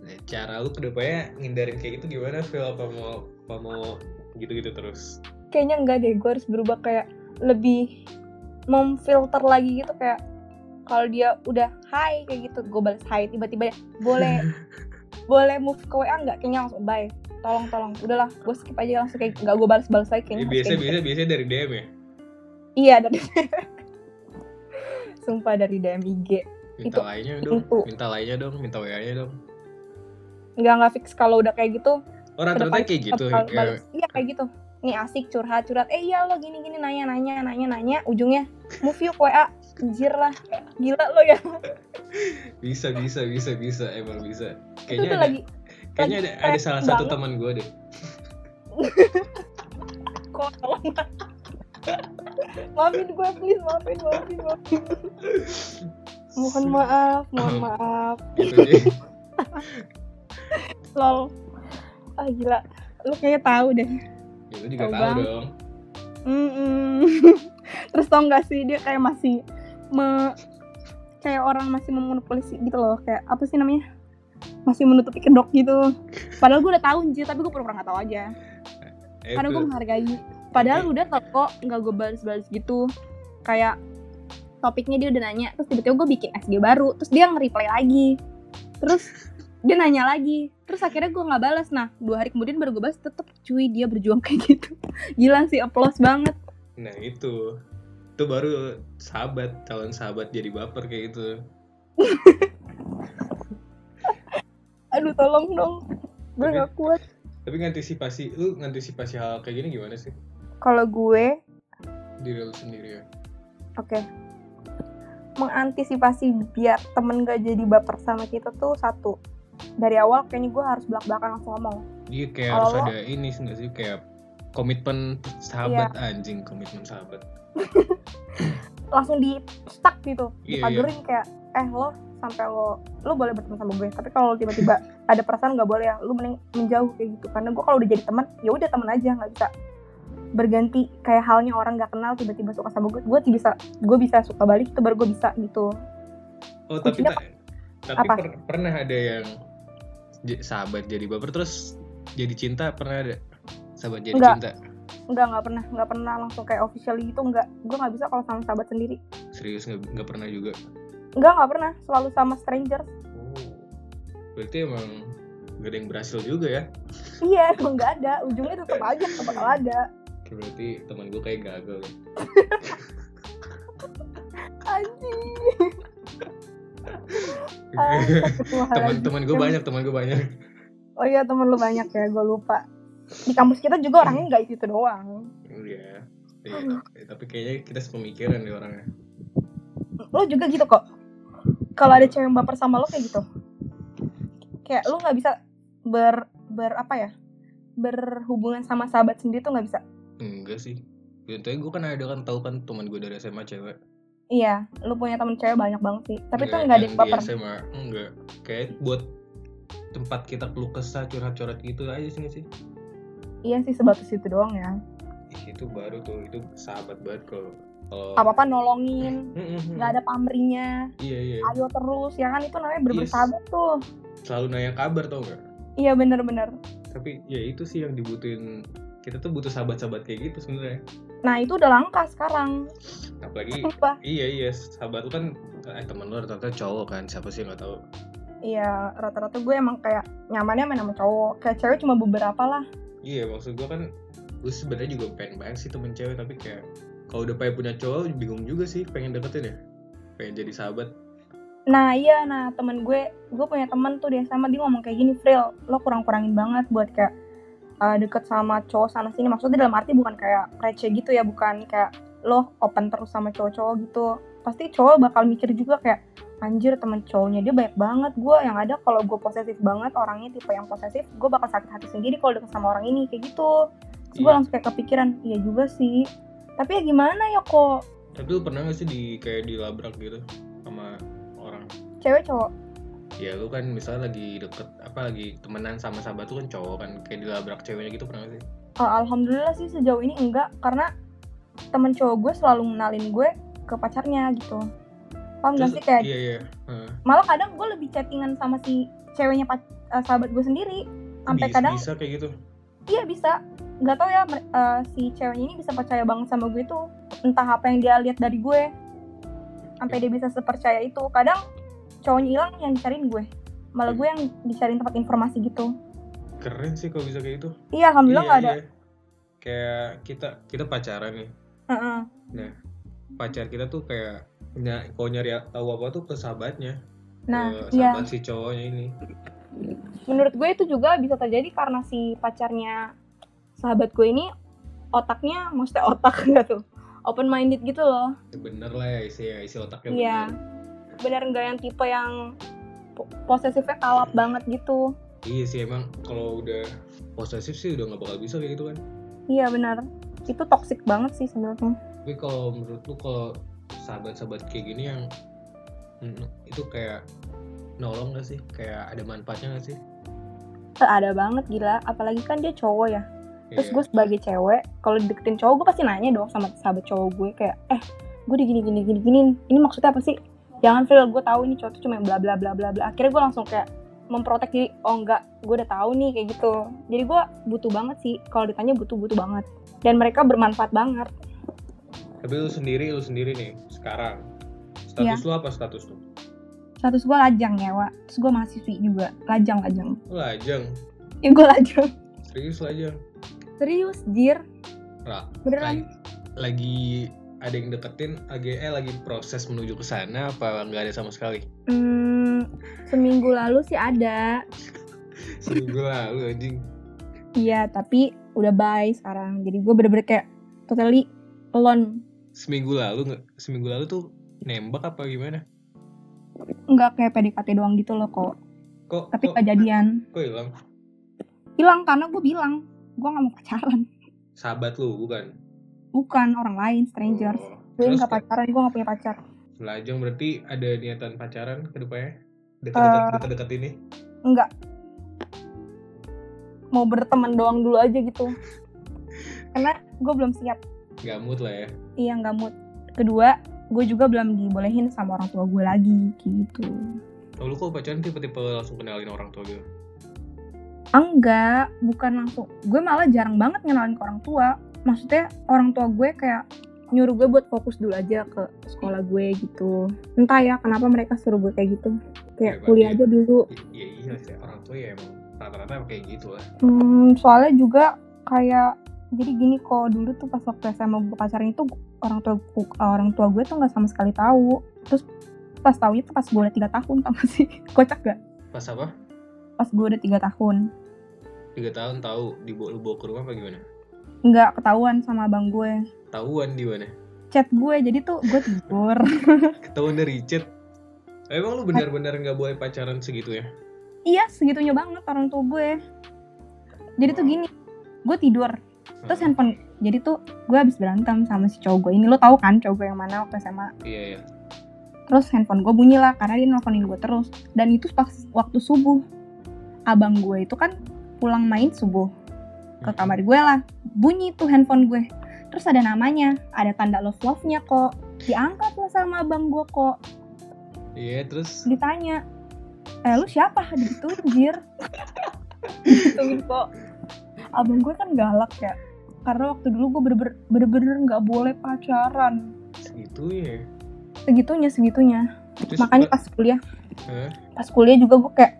[SPEAKER 2] Nah, cara lu kedepannya ngindarin kayak gitu gimana Phil apa mau apa mau gitu-gitu terus
[SPEAKER 3] kayaknya enggak deh gue harus berubah kayak lebih memfilter lagi gitu kayak kalau dia udah hai kayak gitu gue balas hai tiba-tiba dia, boleh boleh move ke WA nggak kayaknya langsung bye tolong tolong udahlah gue skip aja langsung kayak gitu. nggak gue balas balas
[SPEAKER 2] ya,
[SPEAKER 3] lagi kayaknya harus
[SPEAKER 2] biasa
[SPEAKER 3] kayak gitu.
[SPEAKER 2] biasa biasa dari DM ya
[SPEAKER 3] iya dari sumpah dari DM IG.
[SPEAKER 2] Minta
[SPEAKER 3] Itu
[SPEAKER 2] lainnya dong,
[SPEAKER 3] pintu.
[SPEAKER 2] minta lainnya dong, minta WA-nya dong.
[SPEAKER 3] Nggak nggak fix kalau udah kayak gitu.
[SPEAKER 2] Oh rata-rata
[SPEAKER 3] depan
[SPEAKER 2] kayak gitu.
[SPEAKER 3] bakal
[SPEAKER 2] Kayak,
[SPEAKER 3] balas. Iya kayak gitu. Nih asik curhat curhat. Eh iya lo gini gini nanya nanya nanya nanya. Ujungnya move yuk WA. Anjir lah. Gila lo ya.
[SPEAKER 2] bisa bisa bisa bisa emang bisa. Kayaknya
[SPEAKER 3] Itu tuh
[SPEAKER 2] ada,
[SPEAKER 3] lagi
[SPEAKER 2] kayaknya ada,
[SPEAKER 3] lagi
[SPEAKER 2] ada
[SPEAKER 3] fresh
[SPEAKER 2] salah satu
[SPEAKER 3] banget.
[SPEAKER 2] teman gue deh.
[SPEAKER 3] kok. maafin gue please maafin maafin maafin. Mohon maaf mohon maaf.
[SPEAKER 2] Gitu deh.
[SPEAKER 3] Lol. Ah gila. Lu kayaknya tahu deh.
[SPEAKER 2] Ya, lu juga
[SPEAKER 3] Tahu
[SPEAKER 2] tahu
[SPEAKER 3] banget.
[SPEAKER 2] dong.
[SPEAKER 3] Mm-mm. Terus tau gak sih dia kayak masih me- kayak orang masih memonopolisi gitu loh kayak apa sih namanya masih menutupi kedok gitu padahal gue udah tahu anjir tapi gue pura-pura gak tahu aja
[SPEAKER 2] Eh,
[SPEAKER 3] karena gue
[SPEAKER 2] itu.
[SPEAKER 3] menghargai padahal udah tau kok nggak gue balas-balas gitu kayak topiknya dia udah nanya terus tiba-tiba gue bikin SG baru terus dia nge-reply lagi terus dia nanya lagi terus akhirnya gue nggak balas nah dua hari kemudian baru gue balas tetep cuy dia berjuang kayak gitu gila sih applause banget
[SPEAKER 2] Nah itu itu baru sahabat calon sahabat jadi baper kayak gitu.
[SPEAKER 3] aduh tolong dong gue
[SPEAKER 2] Tapi-
[SPEAKER 3] gak kuat
[SPEAKER 2] Tapi ngantisipasi lu ngantisipasi hal kayak gini gimana sih
[SPEAKER 3] kalau gue
[SPEAKER 2] diri lu sendiri ya?
[SPEAKER 3] oke mengantisipasi biar temen gak jadi baper sama kita tuh satu dari awal kayaknya gue harus belak belakan langsung ngomong
[SPEAKER 2] Iya kayak
[SPEAKER 3] Kalau
[SPEAKER 2] harus
[SPEAKER 3] lo-
[SPEAKER 2] ada ini sih nggak sih kayak komitmen sahabat
[SPEAKER 3] Iya.
[SPEAKER 2] anjing komitmen sahabat.
[SPEAKER 3] langsung di stuck gitu
[SPEAKER 2] Iya,
[SPEAKER 3] dipagerin kayak eh lo sampai lo lo boleh berteman sama gue tapi kalau lo tiba-tiba ada perasaan nggak boleh ya lo mending menjauh kayak gitu karena gue kalau udah jadi teman ya udah teman aja nggak bisa berganti kayak halnya orang nggak kenal tiba-tiba suka sama gue gue ti- bisa gue bisa suka balik itu baru gue bisa gitu
[SPEAKER 2] Oh tapi
[SPEAKER 3] Kuncinya
[SPEAKER 2] ta- tapi
[SPEAKER 3] apa?
[SPEAKER 2] per- pernah ada yang j- sahabat jadi baper terus jadi cinta pernah ada sahabat jadi
[SPEAKER 3] Nggak.
[SPEAKER 2] cinta
[SPEAKER 3] Enggak, enggak pernah, enggak pernah langsung kayak officially gitu, enggak. Gue nggak bisa kalau sama sahabat sendiri.
[SPEAKER 2] serius nggak nggak pernah juga. Oh.
[SPEAKER 3] Enggak, enggak pernah, selalu sama stranger.
[SPEAKER 2] Berarti emang gak ada yang berhasil juga ya?
[SPEAKER 3] Iya, emang enggak ada, ujungnya tetap aja nggak bakal ada.
[SPEAKER 2] Berarti teman gue kayak gagal. ya.
[SPEAKER 3] Anjing. Ah, Eh, Astagfirullahaladzim.
[SPEAKER 2] teman-teman gue banyak, teman gue banyak.
[SPEAKER 3] Oh iya, temen lu banyak ya, gue lupa. Di kampus kita juga orangnya enggak itu doang.
[SPEAKER 2] Iya. Iya,
[SPEAKER 3] Hmm.
[SPEAKER 2] tapi- tapi kayaknya kita sepemikiran nih orangnya.
[SPEAKER 3] Lo juga gitu kok. Kalau ada cewek yang baper sama lo kayak gitu. Kayak lu nggak bisa ber ber apa ya? berhubungan sama sahabat sendiri tuh nggak bisa.
[SPEAKER 2] Enggak sih. Contohnya gue kan ada kan tahu kan teman gue dari SMA cewek.
[SPEAKER 3] Iya, lu punya temen cewek banyak banget sih. Tapi tuh
[SPEAKER 2] Iya,
[SPEAKER 3] nggak ada yang
[SPEAKER 2] di
[SPEAKER 3] baper.
[SPEAKER 2] SMA enggak. Kayak buat tempat kita keluh kesah curhat-curhat gitu aja sih nggak sih.
[SPEAKER 3] Iya sih sebatas itu doang ya.
[SPEAKER 2] Ih, itu baru tuh itu sahabat banget kalau kalau
[SPEAKER 3] Apa apa nolongin,
[SPEAKER 2] Mm-mm.
[SPEAKER 3] nggak ada pamrihnya,
[SPEAKER 2] Iya iya.
[SPEAKER 3] ayo terus ya kan itu namanya
[SPEAKER 2] Yes.
[SPEAKER 3] berbersahabat tuh.
[SPEAKER 2] Selalu nanya kabar tau gak?
[SPEAKER 3] Iya bener-bener.
[SPEAKER 2] Tapi ya itu sih yang dibutuhin kita tuh butuh sahabat-sahabat kayak gitu sebenarnya.
[SPEAKER 3] Nah itu udah langka sekarang.
[SPEAKER 2] Apalagi
[SPEAKER 3] Sumpah.
[SPEAKER 2] Iya iya, sahabat lu kan eh temen lu ternyata cowok kan, siapa sih yang nggak tahu?
[SPEAKER 3] Iya rata-rata gue emang kayak nyamannya main sama cowok. Kayak cewek cuma beberapa lah.
[SPEAKER 2] Iya maksud gua kan, gue sebenarnya juga pengen banget sih temen cewek tapi kayak kalau udah pengen punya cowok bingung juga sih pengen deketin ya, pengen jadi sahabat.
[SPEAKER 3] Nah iya nah temen gue, gue punya temen tuh dia sama dia ngomong kayak gini, Fril, lo kurang-kurangin banget buat kayak uh, deket sama cowok sana sini. Maksudnya dalam arti bukan kayak receh gitu ya, bukan kayak lo open terus sama cowok-cowok gitu. Pasti cowok bakal mikir juga kayak anjir temen cowoknya dia banyak banget gue yang ada kalau gue posesif banget orangnya tipe yang posesif gue bakal sakit hati sendiri kalau deket sama orang ini kayak gitu Terus gue
[SPEAKER 2] Iya.
[SPEAKER 3] langsung kayak kepikiran iya juga sih tapi ya gimana ya kok
[SPEAKER 2] Tapi lu pernah gak sih di kayak dilabrak gitu sama orang?
[SPEAKER 3] cewek cowok
[SPEAKER 2] Ya lu kan misalnya lagi deket apa lagi temenan sama sahabat lu kan cowok kan kayak dilabrak ceweknya gitu pernah gak sih?
[SPEAKER 3] Eh, alhamdulillah sih sejauh ini enggak karena temen cowok gue selalu ngenalin gue ke pacarnya gitu paham gak
[SPEAKER 2] Terus-
[SPEAKER 3] sih kayak
[SPEAKER 2] Iya iya. Heeh.
[SPEAKER 3] malah kadang gue lebih chattingan sama si ceweknya pac- eh, sahabat gue sendiri sampai
[SPEAKER 2] Bis-
[SPEAKER 3] kadang
[SPEAKER 2] bisa kayak gitu.
[SPEAKER 3] iya bisa nggak tau ya mer- eh, si ceweknya ini bisa percaya banget sama gue tuh entah apa yang dia lihat dari gue sampai dia bisa sepercaya itu kadang cowoknya hilang yang dicariin gue malah gue yang dicariin tempat informasi gitu
[SPEAKER 2] Keren sih kalau bisa kayak gitu.
[SPEAKER 3] iya alhamdulillah nggak ada
[SPEAKER 2] iya. Kayak kita kita pacaran nih.
[SPEAKER 3] Heeh.
[SPEAKER 2] pacar kita tuh kayak Nah, kalau nyari tahu apa tuh ke sahabatnya.
[SPEAKER 3] Nah,
[SPEAKER 2] ke
[SPEAKER 3] iya.
[SPEAKER 2] sahabat si Eh, cowoknya ini.
[SPEAKER 3] menurut gue itu juga bisa terjadi karena si pacarnya sahabat gue ini otaknya maksudnya otak enggak tuh open minded gitu loh
[SPEAKER 2] Ya Bener lah ya isi, isi otaknya
[SPEAKER 3] Iya.
[SPEAKER 2] bener.
[SPEAKER 3] benar nggak yang tipe yang po- posesifnya kalap banget gitu
[SPEAKER 2] Iya sih emang kalau udah posesif sih udah nggak bakal bisa kayak gitu kan.
[SPEAKER 3] iya benar itu toxic banget sih sebenarnya
[SPEAKER 2] Tapi kalau menurut lu kalau sahabat-sahabat kayak gini yang mm, itu kayak nolong gak sih? Kayak ada manfaatnya gak sih?
[SPEAKER 3] Eh, ada banget gila apalagi kan dia cowok ya terus
[SPEAKER 2] Iya.
[SPEAKER 3] gue sebagai cewek kalau deketin cowok gue pasti nanya dong sama sahabat cowok gue kayak eh gue digini gini gini gini ini maksudnya apa sih jangan feel gue tahu ini cowok tuh cuma bla bla bla bla bla akhirnya gue langsung kayak memprotek diri oh enggak gue udah tahu nih kayak gitu jadi gue butuh banget sih kalau ditanya butuh butuh banget dan mereka bermanfaat banget
[SPEAKER 2] Tapi lu sendiri, lu sendiri nih sekarang.
[SPEAKER 3] Iya.
[SPEAKER 2] Status lu apa status lu?
[SPEAKER 3] status gue lajang ya wa terus gue mahasiswi juga lajang lajang
[SPEAKER 2] Lu lajang,
[SPEAKER 3] ya gue lajang
[SPEAKER 2] serius lajang.
[SPEAKER 3] serius jir
[SPEAKER 2] Ra,
[SPEAKER 3] beneran
[SPEAKER 2] lagi, lagi ada yang deketin AGE lagi proses menuju ke sana apa nggak ada sama sekali?
[SPEAKER 3] Hmm, seminggu lalu sih ada
[SPEAKER 2] Seminggu lalu anjing.
[SPEAKER 3] Iya, tapi udah bye sekarang. Jadi gue bener-bener kayak totally alone.
[SPEAKER 2] Seminggu lalu nggak? Seminggu lalu tuh nembak apa gimana?
[SPEAKER 3] Nggak kayak PDKT doang gitu loh kok.
[SPEAKER 2] Kok
[SPEAKER 3] Tapi
[SPEAKER 2] kok,
[SPEAKER 3] nggak jadian.
[SPEAKER 2] kok hilang?
[SPEAKER 3] Hilang karena gue bilang, gue nggak mau pacaran.
[SPEAKER 2] Sahabat lu bukan?
[SPEAKER 3] Bukan orang lain, stranger.
[SPEAKER 2] Oh.
[SPEAKER 3] Gue
[SPEAKER 2] Terus
[SPEAKER 3] nggak pacaran, gue nggak punya pacar.
[SPEAKER 2] Lajang berarti ada niatan pacaran ke depannya? Dekat-dekat
[SPEAKER 3] Eh.
[SPEAKER 2] dekat-dekat ini?
[SPEAKER 3] Nggak. Mau berteman doang dulu aja gitu. Karena gue belum siap.
[SPEAKER 2] Gamut lah ya.
[SPEAKER 3] Iya, nggak mood. Kedua, gue juga belum dibolehin sama orang tua gue lagi, kayak gitu.
[SPEAKER 2] Oh, lu kok pacaran tipe-tipe langsung kenalin orang tua gitu?
[SPEAKER 3] enggak bukan langsung gue malah jarang banget ngenalin ke orang tua maksudnya orang tua gue kayak nyuruh gue buat fokus dulu aja ke sekolah gue gitu entah ya kenapa mereka suruh gue kayak gitu
[SPEAKER 2] Ya,
[SPEAKER 3] kayak
[SPEAKER 2] berarti-
[SPEAKER 3] kuliah aja dulu
[SPEAKER 2] I- Ya iya sih, orang tua ya emang rata-rata emang kayak gitu lah.
[SPEAKER 3] Hmm, soalnya juga kayak jadi gini kok dulu tuh pas waktu SMA gue pacaran itu orang tua gu- orang tua gue tuh nggak sama sekali tahu terus pas tahunya tuh pas gue udah tiga tahun tau gak sih kocak gak
[SPEAKER 2] Pas apa?
[SPEAKER 3] pas gue udah tiga tahun
[SPEAKER 2] Tiga tahun tahu dibawa lu bawa ke rumah apa gimana?
[SPEAKER 3] nggak ketahuan sama abang gue
[SPEAKER 2] Tahuan di mana?
[SPEAKER 3] chat gue jadi tuh gue tidur
[SPEAKER 2] Ketahuan dari chat. Emang lu benar-benar nggak boleh pacaran segitu ya?
[SPEAKER 3] iya segitunya banget orang tua gue jadi tuh gini gue tidur terus
[SPEAKER 2] Hmm.
[SPEAKER 3] handphone jadi tuh gue habis berantem sama si cowok gue ini lo tau kan cowok gue yang mana waktu SMA
[SPEAKER 2] Iya iya.
[SPEAKER 3] terus handphone gue bunyi lah karena dia nelfonin gue terus dan itu pas waktu subuh abang gue itu kan pulang main subuh
[SPEAKER 2] Hmm.
[SPEAKER 3] ke kamar gue lah bunyi tuh handphone gue terus ada namanya ada tanda love love nya kok diangkat lah sama abang gue kok
[SPEAKER 2] Iya terus
[SPEAKER 3] ditanya eh lu siapa gitu anjir gitu kok abang gue kan galak ya karena waktu dulu gue bener-bener- bener-bener nggak boleh pacaran
[SPEAKER 2] segitu ya.
[SPEAKER 3] segitunya segitunya
[SPEAKER 2] Terus
[SPEAKER 3] makanya pas kuliah
[SPEAKER 2] Hah?
[SPEAKER 3] pas kuliah juga gue kayak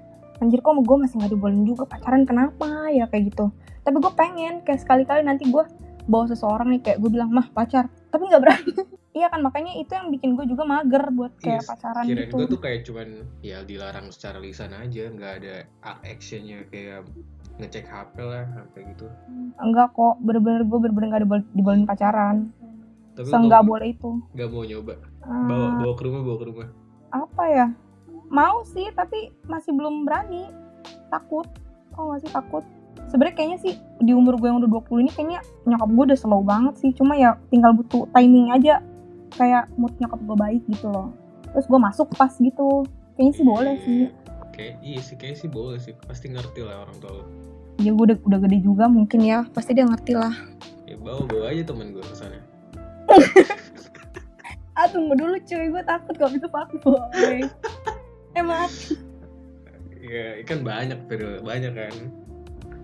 [SPEAKER 3] anjir kok gue masih nggak dibolehin juga pacaran kenapa ya kayak gitu tapi gue pengen kayak sekali-kali nanti gue bawa seseorang nih kayak gue bilang mah pacar tapi nggak berani iya kan makanya itu yang bikin gue juga mager buat kayak
[SPEAKER 2] Yes,
[SPEAKER 3] pacaran
[SPEAKER 2] Iya, kirain
[SPEAKER 3] gitu
[SPEAKER 2] gue tuh kayak cuman ya dilarang secara lisan aja nggak ada a- actionnya kayak ngecek HP lah kayak gitu
[SPEAKER 3] Enggak kok, bener-bener gue bener-bener gak dibol dibolehin pacaran
[SPEAKER 2] tapi lu
[SPEAKER 3] Seenggak
[SPEAKER 2] nggak
[SPEAKER 3] boleh itu
[SPEAKER 2] nggak mau nyoba
[SPEAKER 3] Eh,
[SPEAKER 2] bawa bawa ke rumah bawa ke rumah
[SPEAKER 3] Apa ya? Mau sih, tapi masih belum berani Takut Oh gak sih takut Sebenernya kayaknya sih di umur gue yang udah 20 ini kayaknya nyokap gue udah slow banget sih Cuma ya tinggal butuh timing aja Kayak mood nyokap gue baik gitu loh Terus gue masuk pas gitu Kayaknya sih boleh sih
[SPEAKER 2] kayak iya sih kayak sih boleh sih pasti ngerti lah orang tua lu.
[SPEAKER 3] Ya gue udah, udah gede juga mungkin ya Pasti dia ngerti lah
[SPEAKER 2] ya bawa bawa aja temen gue kesana
[SPEAKER 3] Ah tunggu dulu cuy, gue takut kalau gitu itu fuckboy Emang
[SPEAKER 2] ya kan banyak periode banyak kan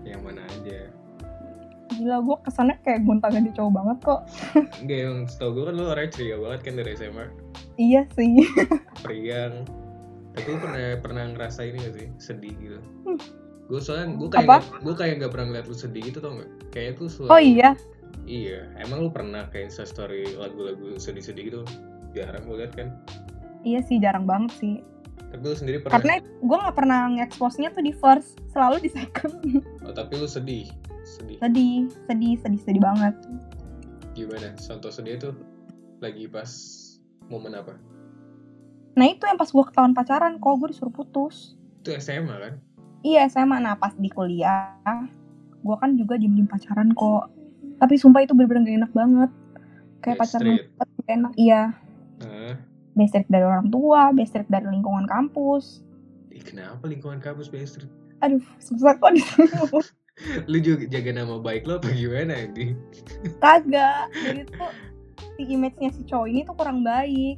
[SPEAKER 2] yang mana aja
[SPEAKER 3] Gila gue kesannya kayak gonta ganti cowok banget kok
[SPEAKER 2] Enggak yang setau gue kan lu orangnya ceria banget kan dari SMA
[SPEAKER 3] Iya sih
[SPEAKER 2] Periang Tapi lu pernah, pernah ngerasa ini gak sih? Sedih gitu
[SPEAKER 3] Hmm.
[SPEAKER 2] Gue soalnya, gue
[SPEAKER 3] Apa?
[SPEAKER 2] kayak, gue kayak gak pernah ngeliat lu sedih gitu tau gak? Kayaknya tuh selalu
[SPEAKER 3] Oh iya
[SPEAKER 2] Iya, emang lu pernah kayak instastory lagu-lagu sedih-sedih gitu? jarang gue lihat kan
[SPEAKER 3] Iya sih jarang banget sih.
[SPEAKER 2] tapi lu sendiri pernah
[SPEAKER 3] Karena gue nggak pernah nge-expose-nya tuh di first, selalu di second.
[SPEAKER 2] oh, tapi lu sedih sedih
[SPEAKER 3] sedih, sedih, sedih, sedih banget.
[SPEAKER 2] gimana contoh sedih tuh lagi pas momen apa
[SPEAKER 3] Nah itu yang pas gue ketahuan pacaran, kok gue disuruh putus.
[SPEAKER 2] itu SMA kan
[SPEAKER 3] Iya SMA, nah pas di kuliah, gue kan juga diem-diem pacaran kok. Tapi sumpah itu bener-bener gak enak banget. Kayak
[SPEAKER 2] Bad
[SPEAKER 3] pacaran
[SPEAKER 2] street.
[SPEAKER 3] banget, gak enak, iya.
[SPEAKER 2] Hah?
[SPEAKER 3] Bestrik dari orang tua, bestrik dari lingkungan kampus.
[SPEAKER 2] Ih, kenapa lingkungan kampus best
[SPEAKER 3] Aduh, susah kok disuruh.
[SPEAKER 2] lu juga jaga nama baik lo apa gimana ini
[SPEAKER 3] Kagak, jadi tuh si image-nya si cowok ini tuh kurang baik.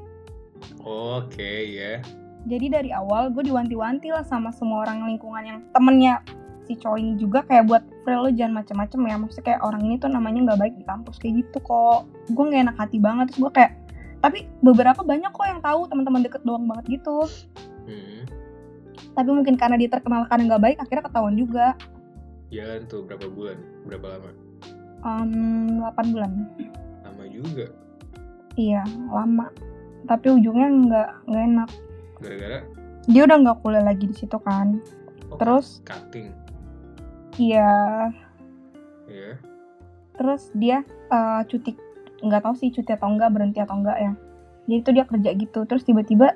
[SPEAKER 2] oke ya
[SPEAKER 3] jadi dari awal gue diwanti-wanti lah sama semua orang lingkungan yang temennya si cowok ini juga kayak buat Frel lo jangan macem-macem ya maksudnya kayak orang ini tuh namanya nggak baik di kampus kayak gitu kok gue nggak enak hati banget terus gue kayak tapi beberapa banyak kok yang tahu teman-teman deket doang banget gitu
[SPEAKER 2] hmm.
[SPEAKER 3] tapi mungkin karena dia terkenal karena nggak baik akhirnya ketahuan juga
[SPEAKER 2] jalan Iya kan, tuh berapa bulan berapa lama
[SPEAKER 3] Em, 8 bulan
[SPEAKER 2] lama juga
[SPEAKER 3] iya lama tapi ujungnya nggak nggak enak
[SPEAKER 2] gara-gara
[SPEAKER 3] dia udah nggak kuliah lagi di situ kan
[SPEAKER 2] oh,
[SPEAKER 3] terus
[SPEAKER 2] cutting
[SPEAKER 3] iya
[SPEAKER 2] ya
[SPEAKER 3] terus dia eh, cuti nggak tahu sih cuti atau enggak berhenti atau enggak ya jadi itu dia kerja gitu terus tiba-tiba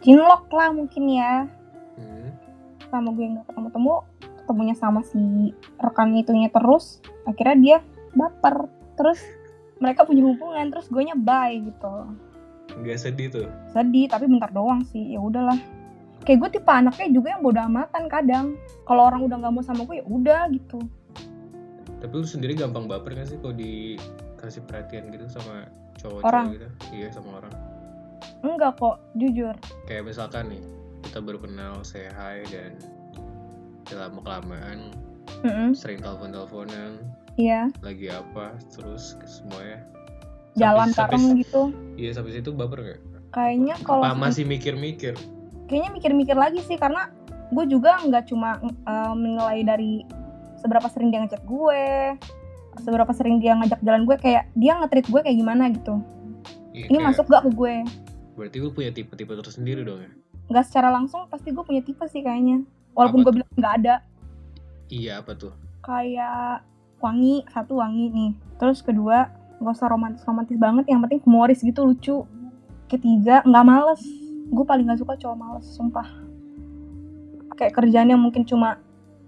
[SPEAKER 3] cinlok lah mungkin ya
[SPEAKER 2] hmm.
[SPEAKER 3] sama gue nggak ketemu-temu ketemunya sama si rekan itunya terus akhirnya dia baper terus mereka punya hubungan terus gue nya bye gitu
[SPEAKER 2] nggak sedih tuh
[SPEAKER 3] sedih tapi bentar doang sih ya udahlah kayak gue tipe anaknya juga yang bodoh amatan kadang kalau orang udah nggak mau sama gue ya udah gitu
[SPEAKER 2] tapi lu sendiri gampang baper gak sih kalau dikasih perhatian gitu sama cowok
[SPEAKER 3] Orang.
[SPEAKER 2] gitu iya sama orang
[SPEAKER 3] enggak kok jujur
[SPEAKER 2] kayak misalkan nih kita baru kenal say hi dan lama kelamaan
[SPEAKER 3] Mm-mm,
[SPEAKER 2] sering telepon teleponan
[SPEAKER 3] iya
[SPEAKER 2] lagi apa terus semuanya Sampai-
[SPEAKER 3] jalan
[SPEAKER 2] sampai-
[SPEAKER 3] bareng gitu
[SPEAKER 2] iya sampai situ baper gak?
[SPEAKER 3] kayaknya kalau
[SPEAKER 2] apa masih mikir-mikir
[SPEAKER 3] kayaknya mikir-mikir lagi sih karena gue juga nggak cuma eh, menilai dari seberapa sering dia ngechat gue seberapa sering dia ngajak jalan gue kayak dia nge-treat gue kayak gimana gitu
[SPEAKER 2] Iya,
[SPEAKER 3] ini
[SPEAKER 2] kayak-
[SPEAKER 3] masuk gak ke gue
[SPEAKER 2] berarti lu punya tipe-tipe tersendiri dong ya
[SPEAKER 3] nggak secara langsung pasti gue punya tipe sih kayaknya
[SPEAKER 2] Apa
[SPEAKER 3] walaupun gue bilang nggak ada
[SPEAKER 2] iya apa tuh
[SPEAKER 3] kayak wangi satu wangi nih terus kedua gak usah romantis romantis banget yang penting humoris gitu lucu ketiga nggak males gue paling gak suka cowok males sumpah kayak kerjaan yang mungkin cuma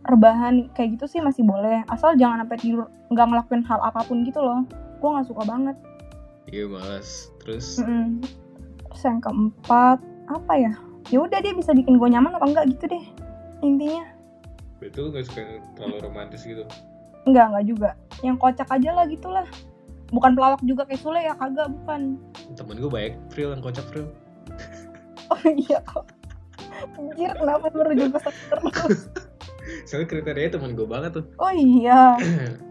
[SPEAKER 3] rebahan kayak gitu sih masih boleh asal jangan sampai tidur nggak ngelakuin hal apapun gitu loh gue nggak suka banget
[SPEAKER 2] iya malas terus
[SPEAKER 3] Mm-mm. terus yang keempat apa ya ya udah dia bisa bikin gue nyaman apa enggak gitu deh intinya
[SPEAKER 2] berarti lu gak suka yang terlalu romantis gitu
[SPEAKER 3] Enggak, enggak juga. Yang kocak aja lah gitu lah. Bukan pelawak juga kayak Sule ya, kagak bukan.
[SPEAKER 2] temen gue banyak fril yang kocak fril
[SPEAKER 3] Oh iya kok. Anjir, kenapa merujuk ke saya terus?
[SPEAKER 2] soalnya kriterianya temen gue banget tuh
[SPEAKER 3] Oh iya.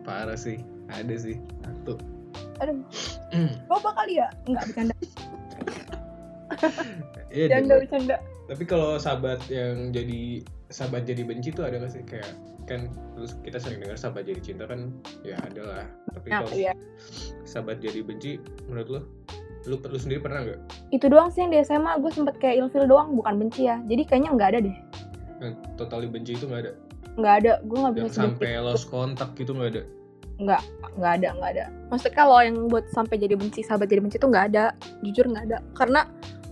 [SPEAKER 2] parah sih ada sih satu
[SPEAKER 3] Aduh, coba kali ya? Enggak, bercanda.
[SPEAKER 2] iya deh.
[SPEAKER 3] Bercanda, bercanda.
[SPEAKER 2] tapi kalau sahabat yang jadi sahabat jadi benci tuh ada gak sih kayak kan terus kita sering dengar sahabat jadi cinta kan ya ada lah tapi
[SPEAKER 3] Nah,
[SPEAKER 2] kalau
[SPEAKER 3] iya.
[SPEAKER 2] sahabat jadi benci menurut lo lu, lu sendiri pernah nggak
[SPEAKER 3] Itu doang sih yang di SMA gue sempet kayak ilfil doang, bukan benci ya. Jadi kayaknya enggak ada deh.
[SPEAKER 2] yang totally benci itu nggak ada
[SPEAKER 3] Enggak ada, gue enggak
[SPEAKER 2] yang
[SPEAKER 3] bisa
[SPEAKER 2] sampai lost kontak gitu nggak ada
[SPEAKER 3] Enggak, enggak ada, enggak ada. Maksudnya kalau yang buat sampai jadi benci, sahabat jadi benci tuh enggak ada. Jujur enggak ada. Karena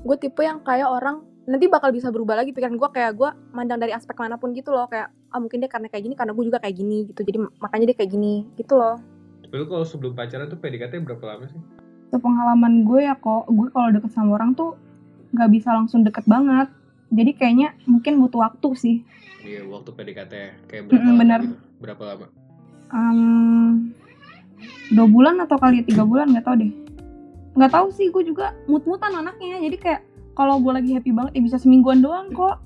[SPEAKER 3] gue tipe yang kayak orang nanti bakal bisa berubah lagi pikiran gue kayak gue mandang dari aspek manapun gitu loh kayak ah mungkin dia karena kayak gini karena gue juga kayak gini gitu jadi makanya dia kayak gini gitu loh
[SPEAKER 2] tapi lu kalau sebelum pacaran tuh PDKT berapa lama sih
[SPEAKER 3] itu pengalaman gue ya kok gue kalau deket sama orang tuh nggak bisa langsung deket banget jadi kayaknya mungkin butuh waktu sih
[SPEAKER 2] iya waktu PDKT ya. kayak
[SPEAKER 3] Mm-mm,
[SPEAKER 2] berapa lama
[SPEAKER 3] benar.
[SPEAKER 2] gitu? berapa lama
[SPEAKER 3] Emm dua bulan atau kali ya tiga bulan nggak tahu deh nggak tahu sih gue juga mut-mutan anaknya jadi kayak kalau gue lagi happy banget ya bisa semingguan doang kok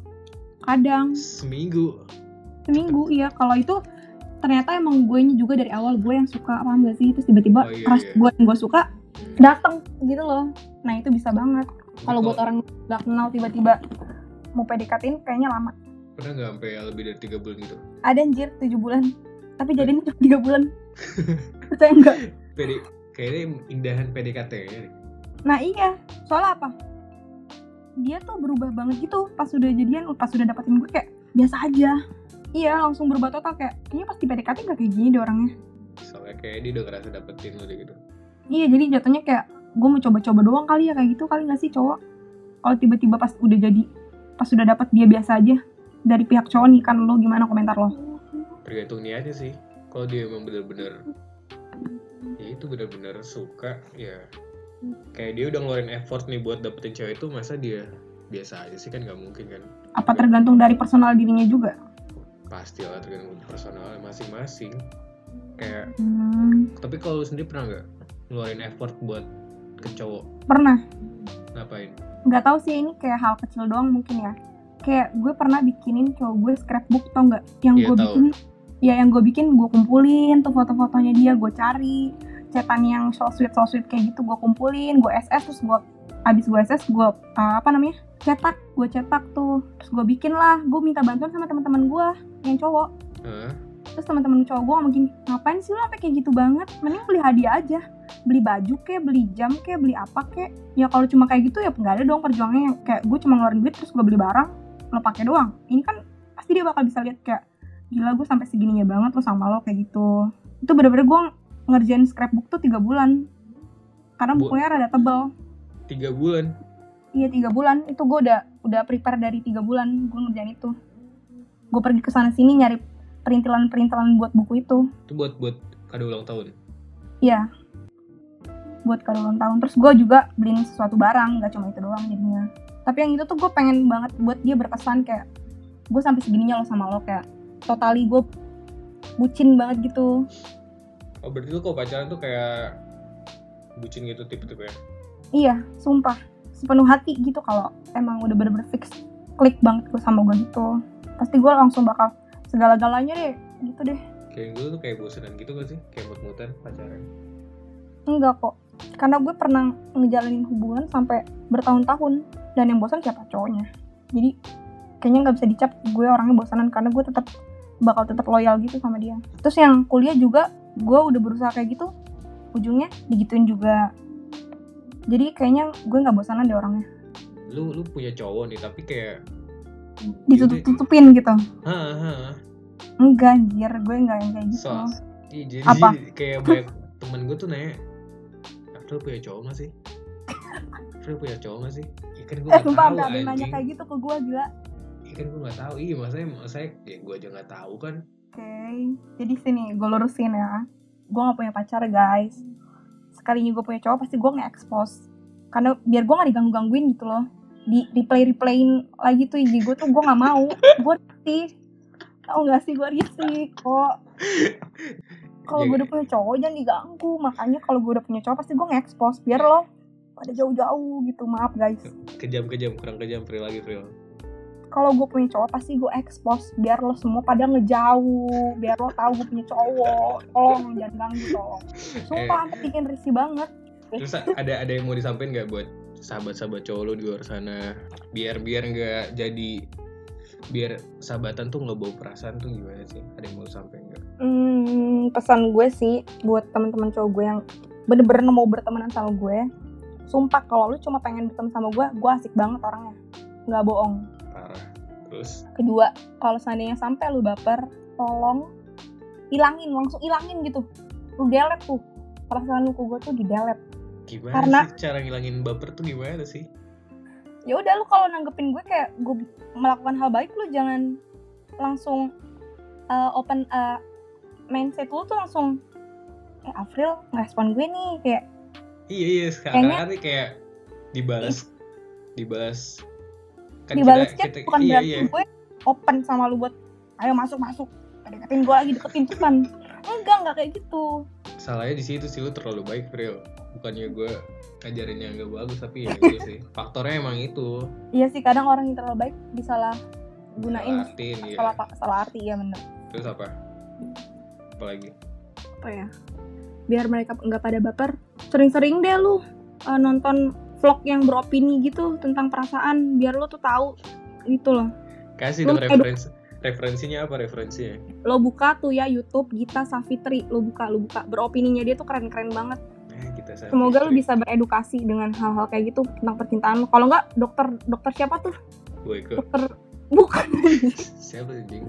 [SPEAKER 3] kadang
[SPEAKER 2] seminggu
[SPEAKER 3] seminggu iya kalau itu ternyata emang gue nya juga dari awal gue yang suka paham gak sih terus tiba-tiba
[SPEAKER 2] Oh, iya,
[SPEAKER 3] crush
[SPEAKER 2] iya.
[SPEAKER 3] gue yang gue suka
[SPEAKER 2] Hmm.
[SPEAKER 3] dateng gitu loh nah itu bisa banget kalau buat orang nggak kenal tiba-tiba mau PDKT-in kayaknya lama
[SPEAKER 2] pernah nggak sampai lebih dari tiga bulan gitu
[SPEAKER 3] ada anjir 7 bulan tapi
[SPEAKER 2] Iya.
[SPEAKER 3] jadinya cuma 3 bulan saya enggak
[SPEAKER 2] PD kayaknya indahan PDKT ya
[SPEAKER 3] Nah iya, soalnya apa? Dia tuh berubah banget gitu pas udah jadian, pas udah dapetin gue kayak biasa aja. Iya, langsung berubah total kayak kayaknya pasti PDKT gak kayak gini deh orangnya.
[SPEAKER 2] Soalnya kayak dia udah ngerasa dapetin lo deh gitu.
[SPEAKER 3] Iya, jadi jatuhnya kayak gue mau coba-coba doang kali ya kayak gitu kali nggak sih cowok? Kalau tiba-tiba pas udah jadi, pas udah dapet dia biasa aja dari pihak cowok nih kan lo gimana komentar lo?
[SPEAKER 2] Tergantung niatnya sih. Kalau dia emang bener-bener ya itu bener-bener suka ya kayak dia udah ngeluarin effort nih buat dapetin cewek itu masa dia biasa aja sih kan nggak mungkin kan
[SPEAKER 3] Apa tergantung dari personal dirinya juga?
[SPEAKER 2] pastilah tergantung personalnya masing-masing kayak
[SPEAKER 3] Hmm,
[SPEAKER 2] tapi kalau lu sendiri pernah nggak ngeluarin effort buat ke cowok
[SPEAKER 3] pernah
[SPEAKER 2] ngapain
[SPEAKER 3] nggak tahu sih ini kayak hal kecil doang mungkin ya kayak gue pernah bikinin cowok gue scrapbook tau nggak yang
[SPEAKER 2] Iya,
[SPEAKER 3] gue
[SPEAKER 2] tahu.
[SPEAKER 3] bikin ya yang gue bikin gue kumpulin tuh foto-fotonya dia gue cari cetan yang so sweet so sweet kayak gitu gue kumpulin gue ss terus gue abis gue ss gue uh, apa namanya cetak gue cetak tuh terus gue bikin lah gue minta bantuan sama teman-teman gue yang cowok
[SPEAKER 2] Hah?
[SPEAKER 3] terus teman-teman cowok gue ngomong gini ngapain sih lo sampai kayak gitu banget mending beli hadiah aja beli baju kek beli jam kek beli apa kek ya kalau cuma kayak gitu ya nggak ada dong perjuangannya yang kayak gue cuma ngeluarin duit terus gue beli barang lo pakai doang ini kan pasti dia bakal bisa lihat kayak gila gue sampai segininya banget lo sama lo kayak gitu itu bener-bener gue ngerjain scrapbook tuh tiga bulan karena
[SPEAKER 2] Bu-
[SPEAKER 3] bukunya rada tebel
[SPEAKER 2] tiga bulan
[SPEAKER 3] iya tiga bulan itu gue udah udah prepare dari tiga bulan gue ngerjain itu gue pergi ke sana sini nyari perintilan-perintilan buat buku itu
[SPEAKER 2] itu buat buat kado ulang tahun
[SPEAKER 3] Iya. Buat kado ulang tahun. Terus gue juga beliin sesuatu barang, nggak cuma itu doang jadinya. Tapi yang itu tuh gue pengen banget buat dia berkesan kayak gue sampai segininya lo sama lo kayak totally gue bucin banget gitu.
[SPEAKER 2] oh berarti lu kalau pacaran tuh kayak bucin gitu tipe-tipe ya
[SPEAKER 3] Iya, sumpah sepenuh hati gitu kalau emang udah bener-bener fix klik banget gue sama gue gitu. Pasti gue langsung bakal segala-galanya deh gitu deh.
[SPEAKER 2] kayak gue tuh kayak bosenan gitu gak sih kayak mut-mutan pacaran
[SPEAKER 3] Enggak kok. Karena gue pernah ngejalanin hubungan sampai bertahun-tahun. Dan yang bosan siapa cowoknya. Jadi kayaknya nggak bisa dicap gue orangnya bosanan karena gue tetap bakal tetap loyal gitu sama dia. Terus yang kuliah juga gue udah berusaha kayak gitu. Ujungnya digituin juga. Jadi kayaknya gue nggak bosanan deh orangnya.
[SPEAKER 2] lu lu punya cowok nih tapi kayak
[SPEAKER 3] Ditutup-tutupin gitu.
[SPEAKER 2] Hah, hah.
[SPEAKER 3] Enggak anjir, gue nggak yang kayak gitu.
[SPEAKER 2] So, iya, jadi
[SPEAKER 3] Apa?
[SPEAKER 2] kayak banyak temen gue tuh nanya, April punya cowok gak sih? April punya cowok gak sih? Ya kan gue
[SPEAKER 3] Eh
[SPEAKER 2] gak
[SPEAKER 3] sumpah
[SPEAKER 2] tau
[SPEAKER 3] sampai ada yang nanya
[SPEAKER 2] anjing.
[SPEAKER 3] kayak gitu ke gue gila.
[SPEAKER 2] Ya kan gue gak tau. Iya maksudnya, maksudnya ya gue aja gak tau kan.
[SPEAKER 3] Oke, jadi sini gue lurusin ya. Gue gak punya pacar guys. Sekalinya gue punya cowok pasti gue nge-expose. Karena biar gue gak diganggu-gangguin gitu loh. Di replay-replayin lagi tuh IG gue tuh gue gak mau. Gue risih. Tau gak sih gue risih kok. Kalau gue udah punya cowok jangan diganggu. Makanya kalau gue udah punya cowok pasti gue nge-expose. Biar lo pada jauh-jauh gitu. Maaf guys.
[SPEAKER 2] Kejam-kejam, kurang kejam April lagi April.
[SPEAKER 3] Kalau gue punya cowok pasti gue expose. Biar lo semua pada ngejauh. Biar lo tahu gue punya cowok. Tolong jangan ganggu tolong. Sumpah
[SPEAKER 2] Eh.
[SPEAKER 3] sampai bikin risih banget.
[SPEAKER 2] Terus ada ada yang mau disampaikan gak buat sahabat-sahabat cowok lu di luar sana? Biar-biar gak jadi biar sahabatan tuh nggak bawa perasaan tuh gimana sih ada yang mau lu sampein nggak
[SPEAKER 3] Hmm, pesan gue sih buat teman-teman cowok gue yang bener-bener mau bertemanan sama gue. Sumpah kalau lu cuma pengen berteman sama gue, gue asik banget orangnya. Nggak bohong.
[SPEAKER 2] parah terus
[SPEAKER 3] Kedua, kalau seandainya sampai lu baper, tolong ilangin, langsung ilangin gitu. Lu delete tuh. Perasaan lu ke gue tuh di delete.
[SPEAKER 2] gimana
[SPEAKER 3] Karena-
[SPEAKER 2] sih cara ngilangin baper tuh gimana sih
[SPEAKER 3] ya udah lu kalau nanggepin gue kayak gue melakukan hal baik lu jangan langsung uh, open uh, mindset lu tuh langsung eh April ngerespon gue nih kayak
[SPEAKER 2] Iya iya sekarang
[SPEAKER 3] Kayaknya-
[SPEAKER 2] nih kayak dibalas dibalas kan
[SPEAKER 3] dibalas
[SPEAKER 2] kita-
[SPEAKER 3] chat
[SPEAKER 2] kita-
[SPEAKER 3] bukan
[SPEAKER 2] iya
[SPEAKER 3] berarti
[SPEAKER 2] iya
[SPEAKER 3] gue open sama lu buat ayo masuk masuk deketin gue lagi deketin tuh kan enggak enggak kayak gitu
[SPEAKER 2] salahnya di situ sih lu terlalu baik Fril bukannya gue ngajarinnya nggak bagus tapi ya itu sih faktornya emang itu
[SPEAKER 3] iya sih kadang orang yang terlalu baik disalah gunain
[SPEAKER 2] Artin ya
[SPEAKER 3] salah pak salah arti ya bener
[SPEAKER 2] terus apa apalagi
[SPEAKER 3] apa ya biar mereka nggak pada baper sering-sering deh lu eh, nonton vlog yang beropini gitu tentang perasaan biar lu tuh tahu gitu loh
[SPEAKER 2] kasih
[SPEAKER 3] Lu
[SPEAKER 2] dong
[SPEAKER 3] kayak-
[SPEAKER 2] referensi referensinya apa referensinya
[SPEAKER 3] lo buka tuh ya YouTube Gita Safitri lo buka lo buka beropininya dia tuh keren-keren banget
[SPEAKER 2] nah gitu tes anti
[SPEAKER 3] Semoga lu
[SPEAKER 2] listrik.
[SPEAKER 3] bisa beredukasi dengan hal-hal kayak gitu tentang percintaan lu. Kalau nggak dokter dokter siapa tuh?
[SPEAKER 2] Boyke.
[SPEAKER 3] Dokter bukan
[SPEAKER 2] Siapa sih, Jing?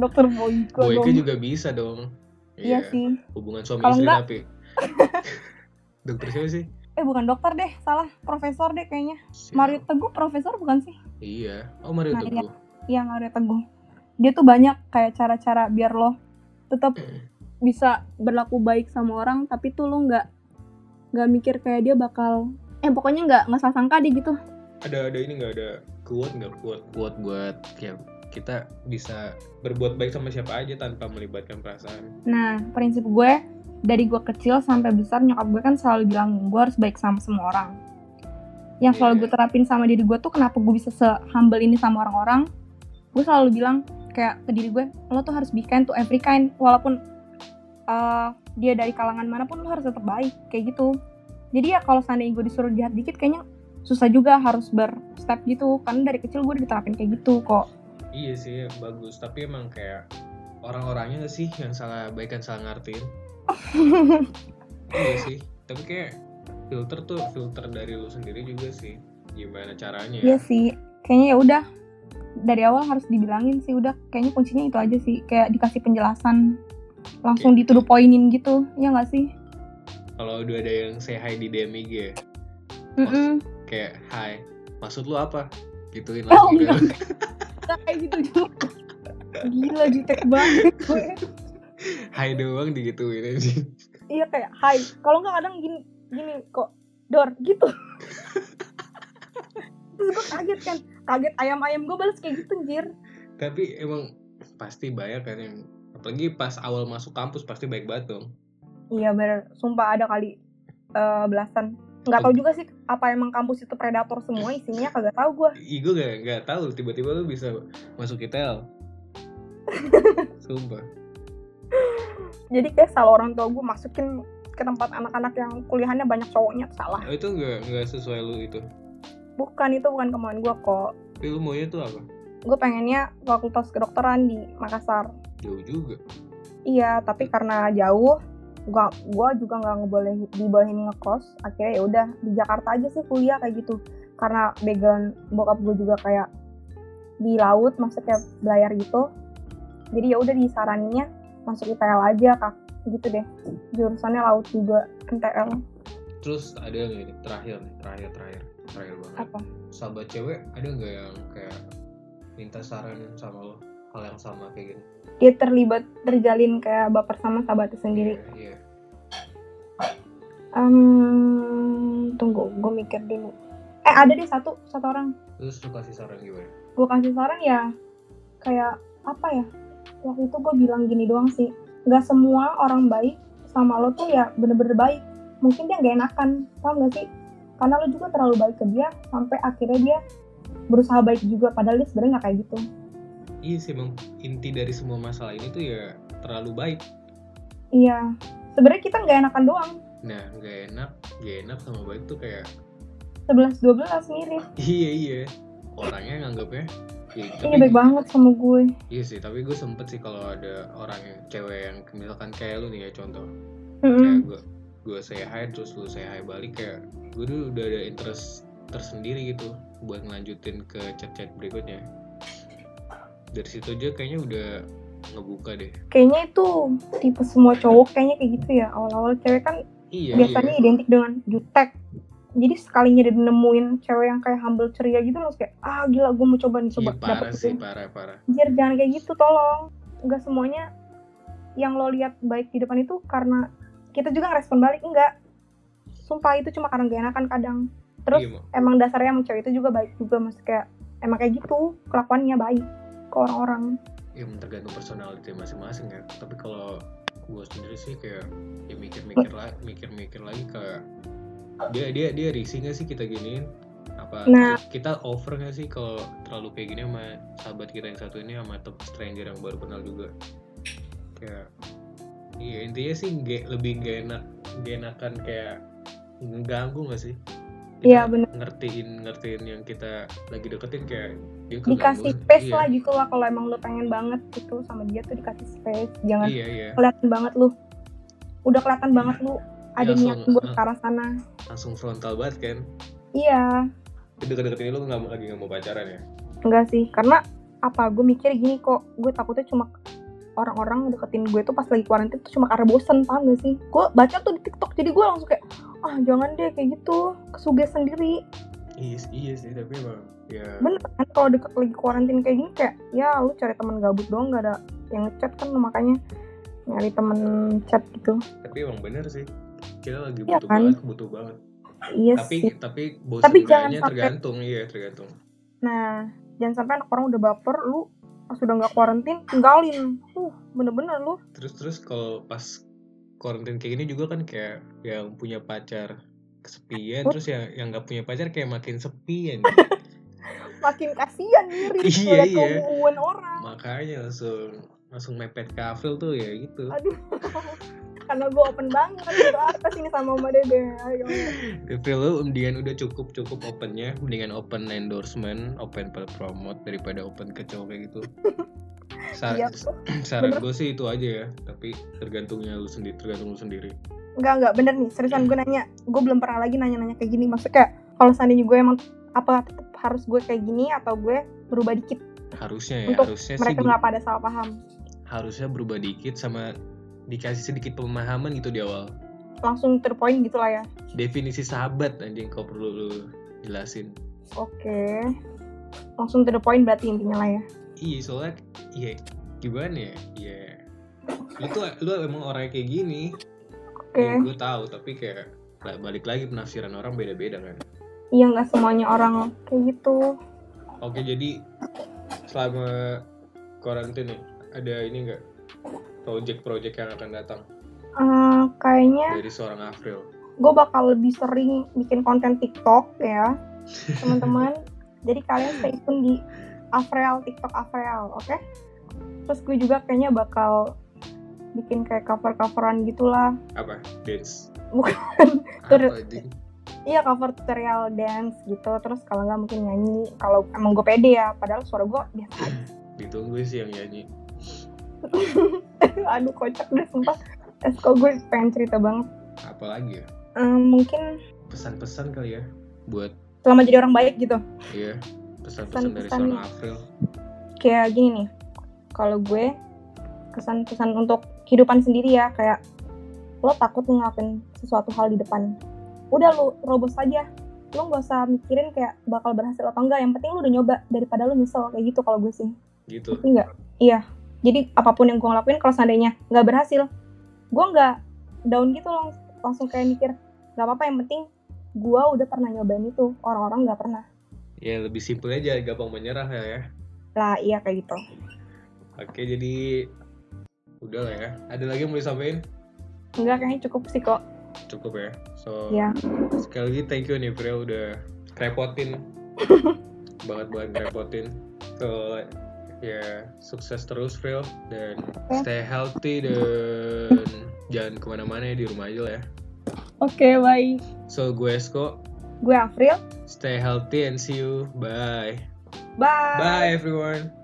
[SPEAKER 3] dokter Boyko.
[SPEAKER 2] Boyke
[SPEAKER 3] dong.
[SPEAKER 2] juga bisa dong.
[SPEAKER 3] Iya sih.
[SPEAKER 2] Hubungan suami
[SPEAKER 3] Kalau
[SPEAKER 2] istri
[SPEAKER 3] enggak-
[SPEAKER 2] tapi. Dokter siapa sih?
[SPEAKER 3] Eh bukan dokter deh, salah profesor deh kayaknya.
[SPEAKER 2] Si-
[SPEAKER 3] Mario Teguh profesor bukan sih?
[SPEAKER 2] Iya. Oh Mario
[SPEAKER 3] Mario.
[SPEAKER 2] Teguh.
[SPEAKER 3] Iya Mario Teguh. Dia tuh banyak kayak cara-cara biar lo tetap bisa berlaku baik sama orang, tapi tuh lo nggak nggak mikir kayak dia bakal eh pokoknya nggak nggak salah sangka deh gitu.
[SPEAKER 2] Ada ada ini nggak ada kuat nggak kuat kuat buat ya kita bisa berbuat baik sama siapa aja tanpa melibatkan perasaan.
[SPEAKER 3] Nah, prinsip gue dari gue kecil sampai besar nyokap gue kan selalu bilang gue harus baik sama semua orang. Yang selalu gue terapin sama diri gue tuh kenapa gue bisa se-humble ini sama orang-orang. Gue selalu bilang kayak ke diri gue, lo tuh harus be kind to every kind. Walaupun uh, dia dari kalangan manapun lo harus tetap baik, kayak gitu. Jadi ya kalau seandainya gue disuruh jahat dikit kayaknya susah juga harus berstep gitu. Karena dari kecil gue udah diterapin kayak gitu kok.
[SPEAKER 2] Iya sih bagus tapi emang kayak orang-orangnya nggak sih yang salah baikan salah ngertiin. Iya sih tapi kayak filter tuh filter dari lu sendiri juga sih gimana caranya. ya?
[SPEAKER 3] Iya sih, kayaknya ya udah dari awal harus dibilangin sih udah kayaknya kuncinya itu aja sih kayak dikasih penjelasan langsung
[SPEAKER 2] Oke.
[SPEAKER 3] dituduh poinin gitu ya nggak sih
[SPEAKER 2] Kalau udah ada yang say hi di DM IG ya,
[SPEAKER 3] Mm-mm.
[SPEAKER 2] kayak hi maksud lu apa? Gituin
[SPEAKER 3] oh
[SPEAKER 2] langsung
[SPEAKER 3] enggak Enggak kayak gitu juga gila jutek banget gue
[SPEAKER 2] Hai doang digituin aja.
[SPEAKER 3] iya kayak hai kalau nggak kadang gini gini kok dor gitu terus gue kaget kan kaget ayam-ayam gue balas kayak gitu anjir
[SPEAKER 2] Tapi emang pasti banyak kan yang apalagi pas awal masuk kampus pasti baik banget dong.
[SPEAKER 3] Iya bener, sumpah ada kali eh, belasan. Nggak tahu juga sih apa emang kampus itu predator semua isinya kagak tahu gue.
[SPEAKER 2] Ih, gue gak, gak tahu tiba-tiba lu bisa masuk ITL. Sumpah.
[SPEAKER 3] Jadi kayak salah orang tua gue masukin ke tempat anak-anak yang kuliahannya banyak cowoknya salah.
[SPEAKER 2] Oh, itu gak, nggak sesuai lu itu.
[SPEAKER 3] Bukan itu bukan kemauan gue kok.
[SPEAKER 2] Tapi lu maunya tuh apa?
[SPEAKER 3] Gue pengennya fakultas kedokteran di Makassar.
[SPEAKER 2] Jauh juga.
[SPEAKER 3] Iya, tapi karena jauh, gue gua juga nggak ngebolehin dibolehin ngekos. Akhirnya ya udah di Jakarta aja sih kuliah kayak gitu. Karena background bokap gue juga kayak di laut, maksudnya kayak belayar gitu. Jadi ya udah disaraninnya masuk ITL aja kak, gitu deh. Jurusannya laut juga MTL
[SPEAKER 2] Terus ada yang ini terakhir nih, terakhir terakhir terakhir banget.
[SPEAKER 3] apa?
[SPEAKER 2] Sahabat cewek ada nggak yang kayak minta saran sama lo hal yang sama kayak gitu?
[SPEAKER 3] Dia terlibat terjalin kayak baper sama sahabatnya sendiri.
[SPEAKER 2] Iya.
[SPEAKER 3] Em, tunggu, gue mikir dulu. Eh ada deh satu satu orang
[SPEAKER 2] Terus lu kasih saran gimana?
[SPEAKER 3] gue kasih saran ya kayak apa ya waktu itu gue bilang gini doang sih nggak semua orang baik sama lo tuh ya bener-bener baik mungkin dia nggak enakan paham gak sih karena lo juga terlalu baik ke dia sampai akhirnya dia berusaha baik juga padahal dia sebenarnya nggak kayak gitu
[SPEAKER 2] Iya sih emang inti dari semua masalah ini tuh ya terlalu baik.
[SPEAKER 3] iya sebenarnya kita nggak enakan doang
[SPEAKER 2] Nah nggak enak, nggak enak sama baik tuh kayak
[SPEAKER 3] 11 12 mirip
[SPEAKER 2] iya iya orangnya nganggapnya. Ya,
[SPEAKER 3] ini baik banget sama gue
[SPEAKER 2] Iya sih tapi gue sempet sih kalau ada orang yang cewek yang misalkan kayak lu nih ya contoh
[SPEAKER 3] Mm-mm.
[SPEAKER 2] kayak gue gue say hi terus lu say hi balik kayak gue dulu udah ada interest tersendiri gitu buat ngelanjutin ke chat-chat berikutnya dari situ aja kayaknya udah ngebuka deh
[SPEAKER 3] kayaknya itu tipe semua cowok kayaknya kayak gitu ya awal-awal cewek kan
[SPEAKER 2] iya
[SPEAKER 3] biasanya identik dengan jutek jadi sekalinya dia nemuin cewek yang kayak humble ceria gitu terus kayak ah gila gue mau coba nih
[SPEAKER 2] iya,
[SPEAKER 3] coba
[SPEAKER 2] Iya, parah
[SPEAKER 3] dapet
[SPEAKER 2] sih
[SPEAKER 3] gitu.
[SPEAKER 2] parah parah
[SPEAKER 3] Anjir, jangan kayak gitu tolong nggak semuanya yang lo lihat baik di depan itu karena kita juga ngerespon balik enggak sumpah itu cuma karena gak enakan kadang terus
[SPEAKER 2] Iya, Mak.
[SPEAKER 3] emang dasarnya emang cewek itu juga baik juga maksudnya kayak emang kayak gitu kelakuannya baik ke orang-orang
[SPEAKER 2] ya tergantung personality masing-masing ya tapi kalau gue sendiri sih kayak ya mikir-mikir lagi mikir-mikir lagi kayak dia dia dia risih nggak sih kita giniin apa
[SPEAKER 3] Nah.
[SPEAKER 2] kita over nggak sih kalau terlalu kayak gini sama sahabat kita yang satu ini sama top stranger yang baru kenal juga kayak iya intinya sih nggak- lebih gak enak gak enakan kayak ngeganggu nggak sih
[SPEAKER 3] Iya,
[SPEAKER 2] Kita
[SPEAKER 3] bener.
[SPEAKER 2] ngertiin ngertiin yang kita lagi deketin kayak dia keganggu
[SPEAKER 3] dikasih
[SPEAKER 2] nggak sih?
[SPEAKER 3] space
[SPEAKER 2] Iya,
[SPEAKER 3] lah gitu lah kalau emang lo pengen banget gitu sama dia tuh dikasih space jangan
[SPEAKER 2] iya iya
[SPEAKER 3] kelihatan banget lu udah kelihatan banget lu ada
[SPEAKER 2] Langsung,
[SPEAKER 3] niat buat
[SPEAKER 2] uh.
[SPEAKER 3] ke arah sana
[SPEAKER 2] langsung frontal banget kan
[SPEAKER 3] iya
[SPEAKER 2] Jadi deket-deket ini lo nggak lagi nggak mau pacaran ya
[SPEAKER 3] enggak sih karena apa gue mikir gini kok gue takutnya cuma orang-orang deketin gue tuh pas lagi kuarantin tuh cuma karena bosen paham gak sih gue baca tuh di tiktok jadi gue langsung kayak ah jangan deh kayak gitu kesuges sendiri
[SPEAKER 2] iya sih- iya sih tapi emang ya
[SPEAKER 3] bener kan kalau deket lagi kuarantin kayak gini kayak ya lu cari teman gabut doang gak ada yang ngechat kan makanya nyari temen chat gitu
[SPEAKER 2] tapi emang bener sih kita lagi
[SPEAKER 3] Iya
[SPEAKER 2] butuh
[SPEAKER 3] kan?
[SPEAKER 2] banget butuh banget
[SPEAKER 3] iya
[SPEAKER 2] tapi
[SPEAKER 3] sih
[SPEAKER 2] tapi bosan
[SPEAKER 3] Tapi jangan sampai-
[SPEAKER 2] tergantung iya tergantung
[SPEAKER 3] nah jangan sampai anak orang udah baper lu pas udah nggak kuarantin tinggalin uh bener-bener lu
[SPEAKER 2] terus terus kalau pas quarantine kayak gini juga kan kayak yang punya pacar kesepian
[SPEAKER 3] Oh.
[SPEAKER 2] terus yang yang nggak punya pacar kayak makin sepian
[SPEAKER 3] makin kasihan
[SPEAKER 2] Iya,
[SPEAKER 3] diri lihat
[SPEAKER 2] iya.
[SPEAKER 3] keungguan orang
[SPEAKER 2] makanya langsung langsung mepet kafil tuh ya gitu
[SPEAKER 3] aduh karena gue open banget gitu apa sih ini sama Oma Dede ayo
[SPEAKER 2] Kafil lu mendingan udah cukup cukup opennya mendingan open endorsement open per promote daripada open ke cowok kayak gitu Sar-
[SPEAKER 3] Iya,
[SPEAKER 2] saran
[SPEAKER 3] bener.
[SPEAKER 2] gue sih itu aja ya tapi tergantungnya lu sendiri tergantung lu sendiri
[SPEAKER 3] enggak enggak bener nih seriusan gue nanya gue belum pernah lagi nanya-nanya kayak gini maksudnya kalau seandainya gue emang apa tetep harus gue kayak gini atau gue berubah dikit
[SPEAKER 2] harusnya ya
[SPEAKER 3] Untuk
[SPEAKER 2] harusnya sih
[SPEAKER 3] mereka
[SPEAKER 2] ber-
[SPEAKER 3] nggak pada salah paham
[SPEAKER 2] harusnya berubah dikit sama dikasih sedikit pemahaman gitu di awal
[SPEAKER 3] langsung to the point gitu lah ya
[SPEAKER 2] definisi sahabat anjing kau perlu lu jelasin
[SPEAKER 3] oke langsung to the point berarti intinya lah ya
[SPEAKER 2] iya soalnya iya gimana ya iya lu tuh lu emang orangnya kayak gini
[SPEAKER 3] oke
[SPEAKER 2] ya, gue tahu tapi kayak lah, balik lagi penafsiran orang beda-beda kan
[SPEAKER 3] iya nggak semuanya orang kayak gitu
[SPEAKER 2] oke jadi selama karantina nih ada ini enggak project-project yang akan datang
[SPEAKER 3] Eh, kayaknya
[SPEAKER 2] dari seorang April
[SPEAKER 3] gue bakal lebih sering bikin konten TikTok ya, teman-teman. Jadi kalian stay tune di Avrel TikTok Avrel, oke? Terus gue juga kayaknya bakal bikin kayak cover-coveran gitulah.
[SPEAKER 2] apa dance
[SPEAKER 3] Bukan. Terus-
[SPEAKER 2] apa anjing?
[SPEAKER 3] Iya cover tutorial dance gitu. Terus kalau nggak mungkin nyanyi. Kalau emang gue pede ya, padahal suara gue biasa.
[SPEAKER 2] ditunggu sih yang nyanyi
[SPEAKER 3] Aduh kocak deh sumpah. Terus kok gue pengen cerita banget.
[SPEAKER 2] apalagi ya
[SPEAKER 3] Ehm, mungkin
[SPEAKER 2] pesan-pesan kali ya buat
[SPEAKER 3] selama jadi orang baik gitu.
[SPEAKER 2] ya pesan-pesan dari
[SPEAKER 3] Pesan-pesan.
[SPEAKER 2] seorang April
[SPEAKER 3] kayak gini nih kalau gue kesan-kesan untuk kehidupan sendiri ya kayak lo takut nih ngelakuin sesuatu hal di depan udah lo robos aja lo nggak usah mikirin kayak bakal berhasil atau enggak yang penting lo udah nyoba daripada lo nyesel kayak gitu kalau gue sih
[SPEAKER 2] gitu
[SPEAKER 3] Ngerti nggak? Iya. Jadi apapun yang gue ngelakuin kalau seandainya nggak berhasil, gue nggak down gitu loh. Langsung kayak mikir, nggak apa-apa yang penting gue udah pernah nyobain itu. Orang-orang nggak pernah.
[SPEAKER 2] ya lebih simpel aja gampang menyerah ya, ya.
[SPEAKER 3] Lah iya kayak gitu.
[SPEAKER 2] oke jadi udah lah ya ada lagi yang mau disampaikan
[SPEAKER 3] Enggak kayaknya cukup sih kok.
[SPEAKER 2] cukup ya so
[SPEAKER 3] Ya.
[SPEAKER 2] sekali lagi thank you nih April udah repotin banget banget repotin so ya sukses terus April dan stay healthy dan jangan kemana-mana ya di rumah aja lah ya
[SPEAKER 3] Oke, bye.
[SPEAKER 2] so gue Esko
[SPEAKER 3] Gue April.
[SPEAKER 2] stay healthy and see you bye
[SPEAKER 3] Bye.
[SPEAKER 2] bye everyone